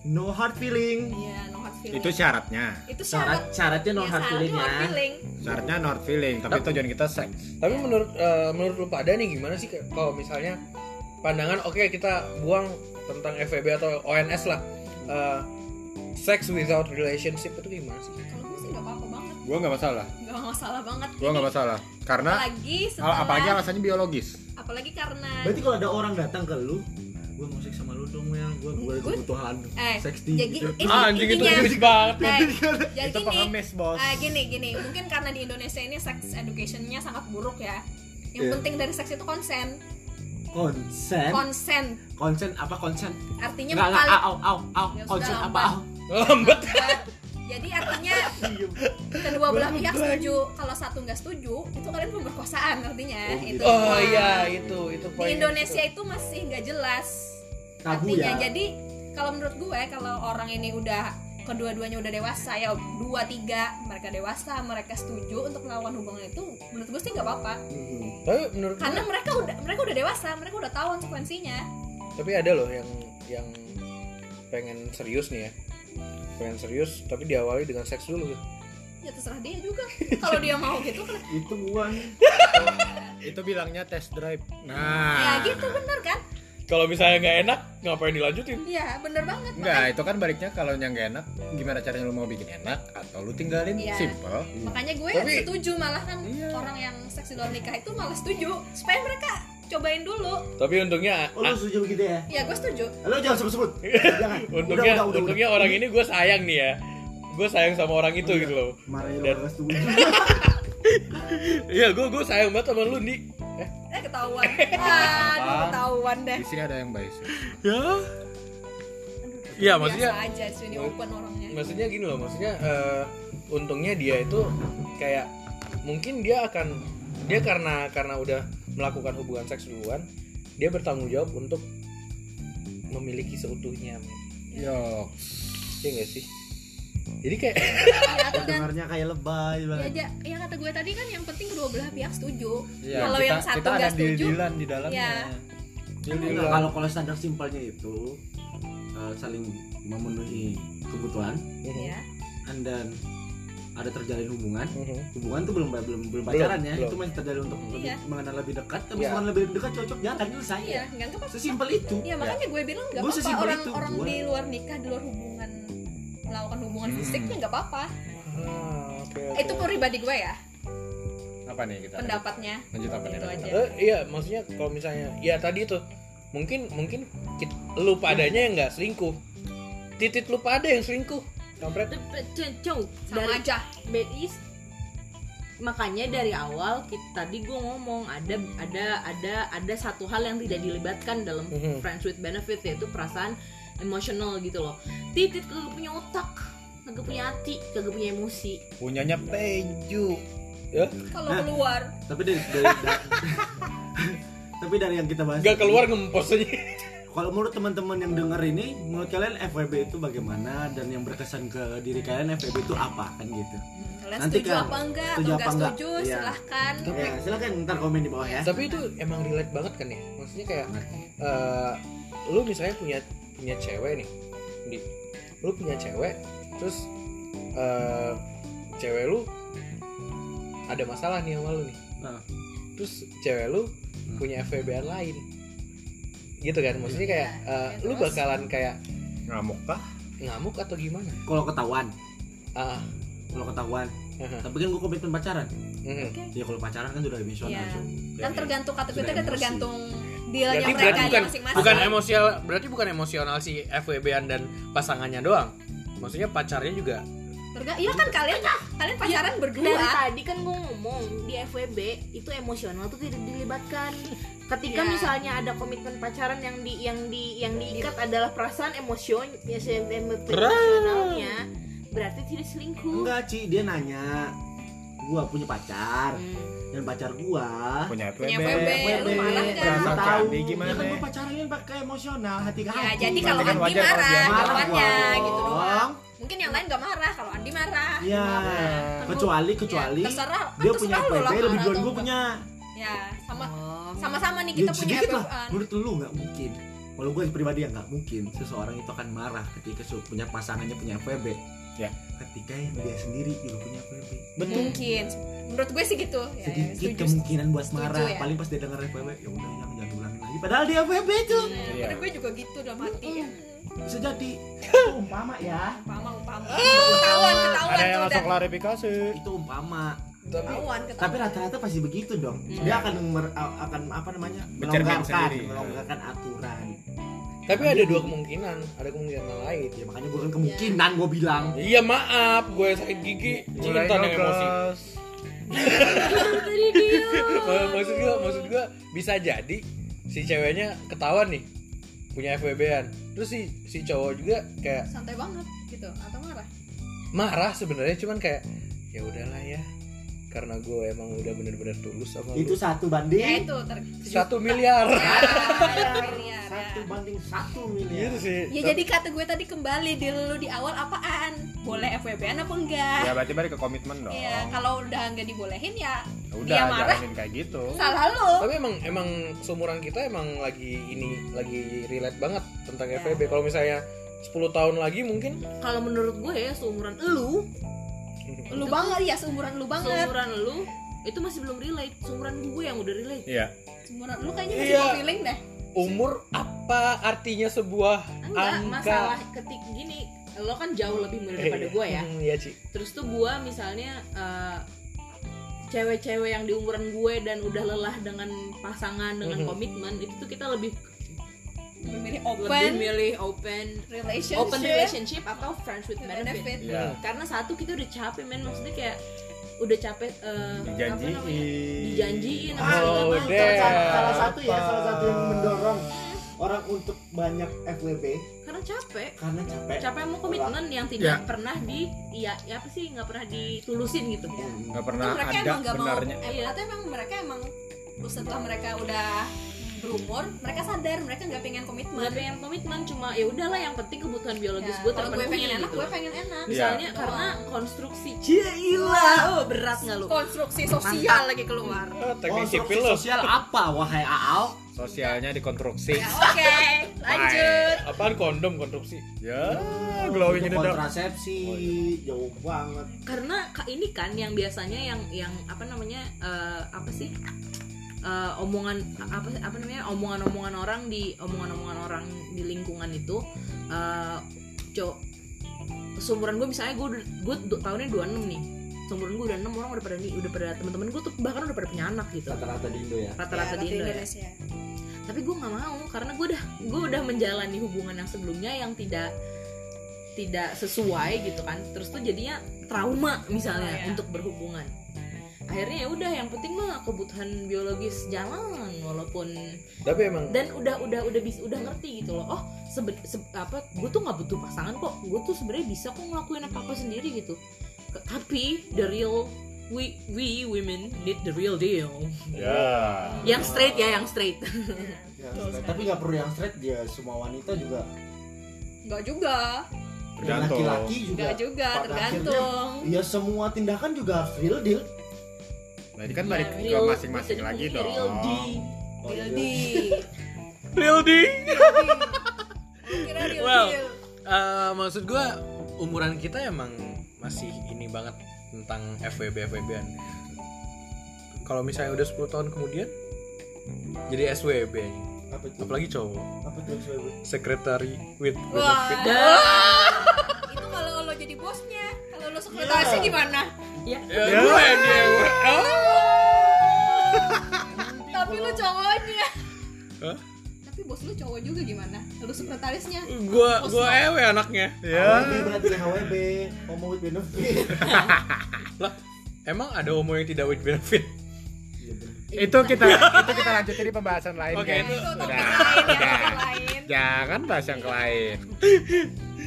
[SPEAKER 2] No hard feeling.
[SPEAKER 6] ya no hard feeling
[SPEAKER 8] itu syaratnya.
[SPEAKER 6] Itu syarat
[SPEAKER 2] Syarat syaratnya no hard
[SPEAKER 6] Ya, syarat
[SPEAKER 2] feeling
[SPEAKER 6] no hard
[SPEAKER 2] ya.
[SPEAKER 6] feeling.
[SPEAKER 8] Syaratnya not feeling, tapi tujuan kita seks.
[SPEAKER 4] Tapi menurut eh, menurut lu pada nih gimana sih ke- kalau misalnya pandangan oke kita buang tentang FEB atau ONS lah. Eh, sex without relationship itu gimana sih?
[SPEAKER 6] kalau gue sih nggak apa-apa banget
[SPEAKER 8] Gua nggak masalah.
[SPEAKER 6] nggak masalah banget
[SPEAKER 8] Gua nggak masalah. Karena
[SPEAKER 6] apalagi
[SPEAKER 8] al-
[SPEAKER 6] setelah
[SPEAKER 8] apalagi alasannya biologis.
[SPEAKER 6] apalagi karena
[SPEAKER 2] Berarti kalau ada orang datang ke lu, gua mau seks sama lu dong ya, gua gua ada
[SPEAKER 6] Gua-
[SPEAKER 2] kebutuhan
[SPEAKER 6] eh
[SPEAKER 2] seks di.
[SPEAKER 6] jadi
[SPEAKER 2] gitu.
[SPEAKER 6] ini intinya-
[SPEAKER 4] jijik banget.
[SPEAKER 6] eh, jadi
[SPEAKER 8] itu
[SPEAKER 4] ya.
[SPEAKER 6] gini,
[SPEAKER 8] pengemis, Bos.
[SPEAKER 6] Ah, gini gini, mungkin karena di Indonesia ini sex educationnya sangat buruk ya. Yang
[SPEAKER 2] Iya.
[SPEAKER 6] penting dari seks itu konsen,
[SPEAKER 2] Konsen.
[SPEAKER 6] konsen.
[SPEAKER 2] Konsen apa konsen?
[SPEAKER 6] Artinya
[SPEAKER 2] Enggak enggak
[SPEAKER 6] kali-
[SPEAKER 2] au au au.
[SPEAKER 6] Ya sudah,
[SPEAKER 2] Konsen apa
[SPEAKER 6] lambat.
[SPEAKER 2] au?
[SPEAKER 4] Lambat.
[SPEAKER 6] Jadi artinya kedua belah pihak setuju. Kalau satu nggak setuju, itu kalian pemerkosaan artinya.
[SPEAKER 2] Oh, gitu.
[SPEAKER 6] itu.
[SPEAKER 4] Oh
[SPEAKER 6] semua.
[SPEAKER 4] iya itu itu
[SPEAKER 6] Di
[SPEAKER 4] poinnya
[SPEAKER 6] Indonesia
[SPEAKER 4] situ.
[SPEAKER 6] itu masih nggak jelas
[SPEAKER 2] Tabu
[SPEAKER 6] artinya.
[SPEAKER 2] ya.
[SPEAKER 6] Jadi kalau menurut gue kalau orang ini udah kedua-duanya udah dewasa ya dua tiga mereka dewasa mereka setuju untuk melakukan hubungan itu menurut gue sih nggak apa-apa
[SPEAKER 2] Hmm.
[SPEAKER 4] Tapi menurut
[SPEAKER 6] karena mereka udah mereka udah dewasa mereka udah tahu konsekuensinya
[SPEAKER 4] tapi ada loh yang yang pengen serius nih ya pengen serius tapi diawali dengan seks dulu
[SPEAKER 6] ya terserah dia juga kalau dia mau gitu kan
[SPEAKER 2] Itu gua.
[SPEAKER 8] Itu bilangnya test drive.
[SPEAKER 1] Ah.
[SPEAKER 6] ya
[SPEAKER 8] Nah,
[SPEAKER 6] gitu bener kan
[SPEAKER 4] kalau misalnya nggak enak ngapain dilanjutin
[SPEAKER 6] ya bener banget
[SPEAKER 8] Enggak, itu kan baliknya kalau yang nggak enak, gimana caranya lu mau bikin enak atau lu tinggalin
[SPEAKER 6] Iya.
[SPEAKER 8] simple.
[SPEAKER 6] makanya gue
[SPEAKER 4] Tapi-
[SPEAKER 6] setuju malah kan
[SPEAKER 8] Iya.
[SPEAKER 6] orang yang seks di luar nikah itu malah setuju supaya mereka cobain dulu
[SPEAKER 4] tapi untungnya
[SPEAKER 2] Oh, lu
[SPEAKER 4] ah,
[SPEAKER 2] setuju begitu ya?
[SPEAKER 6] ya gue setuju
[SPEAKER 2] Lo jangan sebut-sebut. Jangan.
[SPEAKER 4] untungnya untungnya orang ini gue sayang nih ya gue sayang sama orang itu
[SPEAKER 2] Iya.
[SPEAKER 4] gitu loh
[SPEAKER 2] Marahnya
[SPEAKER 4] Dan-
[SPEAKER 2] orang setuju.
[SPEAKER 4] iya gue gue sayang banget sama lu nih
[SPEAKER 6] eh ketahuan aduh ketahuan deh
[SPEAKER 2] Ya?
[SPEAKER 8] Di sini ada yang baik.
[SPEAKER 4] ya Iya, maksudnya
[SPEAKER 6] biasa aja sih ini open orangnya
[SPEAKER 4] maksudnya gini loh maksudnya eh, untungnya dia itu kayak mungkin dia akan dia karena karena udah melakukan hubungan seks duluan dia bertanggung jawab untuk memiliki seutuhnya men.
[SPEAKER 1] Yo,
[SPEAKER 4] Iya nggak sih jadi kayak
[SPEAKER 6] ya, aku dan
[SPEAKER 2] dengarnya kayak lebay
[SPEAKER 6] ya,
[SPEAKER 2] banget
[SPEAKER 6] ya, ya kata gue tadi kan yang penting kedua belah pihak setuju
[SPEAKER 1] Iya,
[SPEAKER 6] kalau
[SPEAKER 1] kita-
[SPEAKER 6] yang satu
[SPEAKER 1] kita ada
[SPEAKER 6] nggak setuju
[SPEAKER 1] deal-dealan di dalamnya.
[SPEAKER 6] Iya.
[SPEAKER 4] Iya.
[SPEAKER 2] Enggak, kalau kalau standar simpelnya itu eh, saling memenuhi kebutuhan
[SPEAKER 1] Iya.
[SPEAKER 6] ya
[SPEAKER 2] and dan ada terjalin hubungan
[SPEAKER 4] Mhm.
[SPEAKER 2] hubungan tuh belum belum belum pacaran ya
[SPEAKER 4] belum.
[SPEAKER 2] itu masih terjalin untuk lebih-
[SPEAKER 6] Iya.
[SPEAKER 2] mengenal lebih dekat tapi
[SPEAKER 4] Iya.
[SPEAKER 2] setelah lebih dekat cocok jangan selesai
[SPEAKER 6] iya nggak apa
[SPEAKER 2] sesimpel itu
[SPEAKER 6] ya makanya gue bilang nggak
[SPEAKER 2] Gue
[SPEAKER 6] apa-apa
[SPEAKER 2] sesimpel
[SPEAKER 6] orang
[SPEAKER 2] itu,
[SPEAKER 6] orang
[SPEAKER 2] gue.
[SPEAKER 6] di luar nikah di luar hubungan melakukan hubungan
[SPEAKER 1] Hmm.
[SPEAKER 6] fisik ya nggak apa-apa
[SPEAKER 4] Ah, oke, oke.
[SPEAKER 6] itu pribadi gue ya
[SPEAKER 1] Apa nih kita?
[SPEAKER 6] pendapatnya
[SPEAKER 1] Lanjut apa nih?
[SPEAKER 6] Gitu aja.
[SPEAKER 4] Eh, iya maksudnya kalau misalnya ya tadi itu mungkin mungkin kit- lu padanya yang nggak selingkuh titit lu pada yang selingkuh kampret
[SPEAKER 3] Cong,
[SPEAKER 6] sama
[SPEAKER 3] dari
[SPEAKER 6] aja
[SPEAKER 3] bad is makanya dari awal kita, tadi gue ngomong ada ada ada ada satu hal yang tidak dilibatkan dalam
[SPEAKER 4] Mhm.
[SPEAKER 3] friends with benefit yaitu perasaan emosional gitu loh titit kagak punya otak kagak punya hati kagak punya emosi
[SPEAKER 1] Punyanya Peju.
[SPEAKER 2] Nah.
[SPEAKER 6] kalau keluar
[SPEAKER 2] tapi dari, dari- da- tapi dari yang kita bahas
[SPEAKER 4] nggak keluar ngempos aja
[SPEAKER 2] kalau menurut teman-teman yang dengar ini menurut kalian FWB itu bagaimana dan yang berkesan ke diri kalian FWB itu apa kan gitu
[SPEAKER 6] kalian
[SPEAKER 2] Nanti
[SPEAKER 6] setuju
[SPEAKER 2] kan,
[SPEAKER 6] apa enggak
[SPEAKER 2] setuju apa
[SPEAKER 6] atau nggak
[SPEAKER 2] enggak?
[SPEAKER 6] setuju
[SPEAKER 2] Iya.
[SPEAKER 6] silahkan
[SPEAKER 2] ya, silakan ntar komen di bawah ya
[SPEAKER 4] tapi itu emang relate banget kan ya maksudnya kayak eh, lu misalnya punya punya cewek nih di lu punya cewek terus eh, cewek lu ada masalah nih sama lu nih
[SPEAKER 2] Nah.
[SPEAKER 4] terus cewek lu punya FWB-an lain gitu kan maksudnya kayak
[SPEAKER 6] Iya.
[SPEAKER 4] eh,
[SPEAKER 6] Ya,
[SPEAKER 4] lu
[SPEAKER 6] terus?
[SPEAKER 4] bakalan kayak
[SPEAKER 1] Ngamuk kah?
[SPEAKER 4] ngamuk atau gimana
[SPEAKER 2] kalau ketahuan
[SPEAKER 4] ah
[SPEAKER 2] kalau ketahuan
[SPEAKER 4] heeh.
[SPEAKER 2] tapi kan gue komitmen pacaran
[SPEAKER 4] Mhm.
[SPEAKER 6] oke
[SPEAKER 2] ya kalau pacaran kan sudah emosional
[SPEAKER 6] Iya.
[SPEAKER 2] Cuk.
[SPEAKER 6] kan tergantung kata gue
[SPEAKER 2] Sudah
[SPEAKER 6] tadi kan
[SPEAKER 2] emosi. kan
[SPEAKER 6] tergantung dealnya
[SPEAKER 4] berarti
[SPEAKER 6] mereka
[SPEAKER 4] berarti bukan
[SPEAKER 6] masing-masing
[SPEAKER 4] bukan emosional berarti bukan emosional si FWB-an dan pasangannya doang maksudnya pacarnya juga
[SPEAKER 6] Terga- iya kan kalian kalian pacaran
[SPEAKER 3] Iya. dari
[SPEAKER 6] berdua Ya,
[SPEAKER 3] tadi kan gue ngomong di FWB itu emosional tuh tidak dilibatkan ketika
[SPEAKER 6] Iya.
[SPEAKER 3] misalnya ada komitmen pacaran yang di yang di yang diikat adalah perasaan emosion ya, se- emosionalnya berarti tidak selingkuh
[SPEAKER 2] enggak Ci dia nanya gua punya pacar
[SPEAKER 3] Hmm.
[SPEAKER 2] dan pacar gua
[SPEAKER 1] Punya FWB.
[SPEAKER 6] punya FWB lu
[SPEAKER 2] FWB,
[SPEAKER 1] Perasaan
[SPEAKER 6] marah
[SPEAKER 2] nggak
[SPEAKER 6] kan
[SPEAKER 1] si
[SPEAKER 2] tahu
[SPEAKER 1] Andi gimana?
[SPEAKER 2] ya kan gua pacarannya pakai emosional hati ke
[SPEAKER 6] ya
[SPEAKER 2] hati
[SPEAKER 6] jadi kalau
[SPEAKER 1] kan
[SPEAKER 6] Andi
[SPEAKER 1] wajar kalau dia
[SPEAKER 6] marah
[SPEAKER 2] marah
[SPEAKER 6] jawabannya
[SPEAKER 2] dong.
[SPEAKER 6] gitu doang mungkin yang lain gak marah kalau Andi marah
[SPEAKER 2] Iya.
[SPEAKER 6] Nah,
[SPEAKER 2] kecuali
[SPEAKER 6] kan gua-
[SPEAKER 2] kecuali
[SPEAKER 6] ya, terserah kan
[SPEAKER 2] dia punya
[SPEAKER 6] terserah lu
[SPEAKER 2] FWB
[SPEAKER 6] lah
[SPEAKER 2] lebih
[SPEAKER 6] marah
[SPEAKER 2] duluan
[SPEAKER 6] atau
[SPEAKER 2] gua
[SPEAKER 6] enggak.
[SPEAKER 2] punya
[SPEAKER 6] ya sama
[SPEAKER 3] Oh.
[SPEAKER 6] sama sama nih kita
[SPEAKER 2] Ya,
[SPEAKER 6] punya eh,
[SPEAKER 2] sedikit lah
[SPEAKER 6] FWB-an.
[SPEAKER 2] menurut lu nggak mungkin kalau gue pribadi ya nggak mungkin seseorang itu akan marah ketika su- punya pasangannya punya FWB
[SPEAKER 1] Ya.
[SPEAKER 2] ketika yang dia sendiri juga punya FWB
[SPEAKER 6] mungkin menurut gue sih gitu ya, ya,
[SPEAKER 2] sedikit
[SPEAKER 6] setuju
[SPEAKER 2] kemungkinan buat
[SPEAKER 6] Setuju
[SPEAKER 2] marah
[SPEAKER 6] ya.
[SPEAKER 2] paling pas dia denger FWB ya udah jangan jangan ulangin lagi padahal dia FWB itu
[SPEAKER 6] Nah,
[SPEAKER 1] Iya.
[SPEAKER 6] menurut gue juga gitu dalam hati ya.
[SPEAKER 2] bisa jadi itu umpama ya
[SPEAKER 6] umpama umpama
[SPEAKER 3] Ah.
[SPEAKER 6] ketahuan ketahuan
[SPEAKER 1] Ada yang
[SPEAKER 6] tuh
[SPEAKER 1] langsung
[SPEAKER 6] udah
[SPEAKER 1] klarifikasi.
[SPEAKER 2] itu umpama
[SPEAKER 6] ketahuan
[SPEAKER 2] tapi
[SPEAKER 6] ketahuan
[SPEAKER 2] rata-rata pasti begitu dong
[SPEAKER 3] Hmm.
[SPEAKER 2] dia akan mer- akan apa namanya
[SPEAKER 1] Bercermin
[SPEAKER 2] melonggarkan
[SPEAKER 1] sendiri.
[SPEAKER 2] melonggarkan aturan
[SPEAKER 4] tapi ada dua kemungkinan ada kemungkinan yang lain
[SPEAKER 2] ya makanya bukan kemungkinan gue bilang
[SPEAKER 4] iya maaf gue sakit gigi cinta dan emosi Ma- maksud gue maksud gue bisa jadi si ceweknya ketahuan nih punya FWB-an terus si si cowok juga kayak
[SPEAKER 6] santai banget gitu atau marah
[SPEAKER 4] marah sebenarnya cuman kayak ya udahlah ya karena gue emang udah bener-bener tulus sama
[SPEAKER 2] itu
[SPEAKER 4] lu
[SPEAKER 2] satu
[SPEAKER 6] ya
[SPEAKER 2] banding
[SPEAKER 6] itu ter
[SPEAKER 4] satu miliar
[SPEAKER 6] Ah, miliar,
[SPEAKER 2] satu
[SPEAKER 6] ya.
[SPEAKER 2] banding satu
[SPEAKER 4] gitu
[SPEAKER 2] miliar
[SPEAKER 4] sih
[SPEAKER 6] Ya jadi kata gue tadi kembali di lu di awal apaan? Boleh FWB-an apa enggak?
[SPEAKER 1] Ya berarti balik ke komitmen dong.
[SPEAKER 6] Iya, kalau udah nggak dibolehin ya
[SPEAKER 1] Udah
[SPEAKER 6] dia marah
[SPEAKER 1] jalanin kayak gitu.
[SPEAKER 6] salah lu.
[SPEAKER 4] tapi emang emang seumuran kita emang lagi ini lagi relate banget tentang
[SPEAKER 6] Ya.
[SPEAKER 4] FWB kalau misalnya 10 tahun lagi mungkin
[SPEAKER 3] kalau menurut gue ya seumuran elu
[SPEAKER 6] Lu banget ya seumuran lu banget.
[SPEAKER 3] seumuran elu itu masih belum relate seumuran gue yang udah relate
[SPEAKER 1] Iya.
[SPEAKER 6] Seumuran lu kayaknya masih
[SPEAKER 4] Iya.
[SPEAKER 6] mau feeling deh.
[SPEAKER 4] umur apa artinya sebuah
[SPEAKER 3] enggak
[SPEAKER 4] angka
[SPEAKER 3] masalah ketik gini lo kan jauh lebih muda daripada gue ya
[SPEAKER 4] Hmm, iya Ci.
[SPEAKER 3] terus tuh gue misalnya eh, cewek-cewek yang di umuran gue dan udah lelah dengan pasangan dengan
[SPEAKER 4] Mhm.
[SPEAKER 3] komitmen itu tuh kita lebih
[SPEAKER 6] Memilih
[SPEAKER 3] lebih
[SPEAKER 6] open
[SPEAKER 3] milih open
[SPEAKER 6] relationship.
[SPEAKER 3] open relationship atau friends with benefit
[SPEAKER 6] benefit.
[SPEAKER 1] Iya.
[SPEAKER 3] karena satu kita udah capek men maksudnya kayak udah capek eh, apa
[SPEAKER 1] Dijanjiin.
[SPEAKER 3] namanya dijanjiin
[SPEAKER 2] Nah,
[SPEAKER 3] gitu.
[SPEAKER 4] Oh,
[SPEAKER 3] segala macam.
[SPEAKER 4] damn.
[SPEAKER 2] salah satu ya salah satu yang mendorong orang untuk banyak FWB
[SPEAKER 3] karena capek
[SPEAKER 2] karena capek.
[SPEAKER 3] capek mau komitmen yang
[SPEAKER 4] Ya.
[SPEAKER 3] tidak pernah di iya ya apa sih nggak pernah ditulusin gitu
[SPEAKER 2] Hmm.
[SPEAKER 1] nggak pernah Nah,
[SPEAKER 6] mereka
[SPEAKER 1] ada
[SPEAKER 6] emang nggak mau
[SPEAKER 1] benarnya
[SPEAKER 6] em-
[SPEAKER 3] Iya.
[SPEAKER 6] atau emang mereka emang setelah mereka udah berumur mereka sadar mereka nggak pengen komitmen
[SPEAKER 3] nggak pengen komitmen cuma ya udahlah yang penting kebutuhan biologis
[SPEAKER 6] Ya,
[SPEAKER 3] gue
[SPEAKER 6] kalau gue
[SPEAKER 3] terpenuhi
[SPEAKER 6] pengen enak Ya.
[SPEAKER 3] gitu Iya.
[SPEAKER 6] gue pengen enak
[SPEAKER 3] misalnya
[SPEAKER 6] Doang.
[SPEAKER 3] karena konstruksi Cila oh berat nggak lu
[SPEAKER 6] konstruksi sosial lagi keluar
[SPEAKER 4] Oh, teknik
[SPEAKER 2] Konstruksi
[SPEAKER 4] sipil loh.
[SPEAKER 2] sosial apa wahai Aal?
[SPEAKER 1] sosialnya dikonstruksi
[SPEAKER 6] Ya, oke lanjut
[SPEAKER 4] Apaan kondom konstruksi?
[SPEAKER 1] ya
[SPEAKER 2] Itu
[SPEAKER 1] glowing in the dark
[SPEAKER 2] kontrasepsi jauh banget.
[SPEAKER 3] karena ka- ini kan yang biasanya yang yang apa namanya eh, apa sih Eh, omongan apa apa namanya omongan-omongan orang di omongan-omongan orang di lingkungan itu eh cowok seumuran gue misalnya gue udah- gue du- tahunnya 26 nih seumuran gue udah 6 orang udah pada nih udah pada teman-teman gue tuh bahkan udah pada punya anak gitu
[SPEAKER 2] Rata-rata di Indo ya.
[SPEAKER 3] rata-rata di Indo ya.
[SPEAKER 6] Indonesia
[SPEAKER 3] tapi gue nggak mau karena gue udah gue udah menjalani hubungan yang sebelumnya yang tidak tidak sesuai gitu kan terus tuh jadinya trauma misalnya
[SPEAKER 6] Iya.
[SPEAKER 3] untuk berhubungan akhirnya ya udah yang penting mah kebutuhan biologis jalan walaupun
[SPEAKER 4] Tapi emang
[SPEAKER 3] dan udah udah udah bisa udah ngerti gitu loh oh sebe, se- apa gue tuh nggak butuh pasangan kok gue tuh sebenarnya bisa kok ngelakuin apa apa sendiri gitu Ke- tapi the real we we women need the real deal
[SPEAKER 1] ya
[SPEAKER 3] yang straight ya yang straight
[SPEAKER 2] Ya, straight.
[SPEAKER 6] Betul sekali.
[SPEAKER 2] tapi nggak perlu yang straight dia semua wanita juga
[SPEAKER 6] nggak juga
[SPEAKER 2] yang
[SPEAKER 1] Tergantung.
[SPEAKER 2] laki-laki juga
[SPEAKER 6] nggak juga
[SPEAKER 2] Pada
[SPEAKER 6] tergantung
[SPEAKER 2] ya semua tindakan juga harus real deal
[SPEAKER 8] Berarti
[SPEAKER 6] Iya,
[SPEAKER 8] kan balik ke
[SPEAKER 3] Iya, Real-
[SPEAKER 8] masing-masing
[SPEAKER 3] jadi
[SPEAKER 8] lagi
[SPEAKER 3] ngomongnya real
[SPEAKER 8] dong.
[SPEAKER 3] D.
[SPEAKER 2] Oh, iya.
[SPEAKER 6] real deal kira real
[SPEAKER 4] Well.
[SPEAKER 6] deal
[SPEAKER 4] Eh, maksud gua umuran kita emang masih ini banget tentang FWB FWB-an. Kalau misalnya udah 10 tahun kemudian jadi SWB anjing.
[SPEAKER 2] apa itu
[SPEAKER 4] apalagi cowok
[SPEAKER 2] apa itu SWB?
[SPEAKER 4] secretary with
[SPEAKER 6] wah
[SPEAKER 4] benefit.
[SPEAKER 6] itu kalau lo jadi bosnya kalau lo sekretarisnya gimana
[SPEAKER 4] Ya, gue dia.
[SPEAKER 6] tapi lo cowoknya
[SPEAKER 4] Hah?
[SPEAKER 6] tapi bos lo cowok juga gimana lo sekretarisnya
[SPEAKER 4] Gua gua ewe anaknya.
[SPEAKER 2] HWB berarti HWB homo with benefit
[SPEAKER 4] Lah, emang ada homo yang tidak with benefit?
[SPEAKER 8] Itu kita itu kita lanjutin di pembahasan lain.
[SPEAKER 4] Oke,
[SPEAKER 8] guys.
[SPEAKER 6] itu topik
[SPEAKER 8] Udah.
[SPEAKER 6] lain ya Iya.
[SPEAKER 8] Udah.
[SPEAKER 6] topik lain
[SPEAKER 8] Jangan bahas yang lain.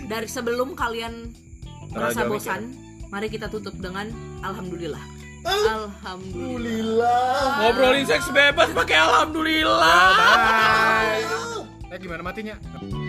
[SPEAKER 3] dari sebelum kalian merasa
[SPEAKER 1] aja
[SPEAKER 3] bosan, mari kita tutup dengan alhamdulillah. Alhamdulillah.
[SPEAKER 2] Alhamdulillah
[SPEAKER 4] Ngobrolin seks bebas pakai alhamdulillah.
[SPEAKER 8] Bye. Eh gimana matinya?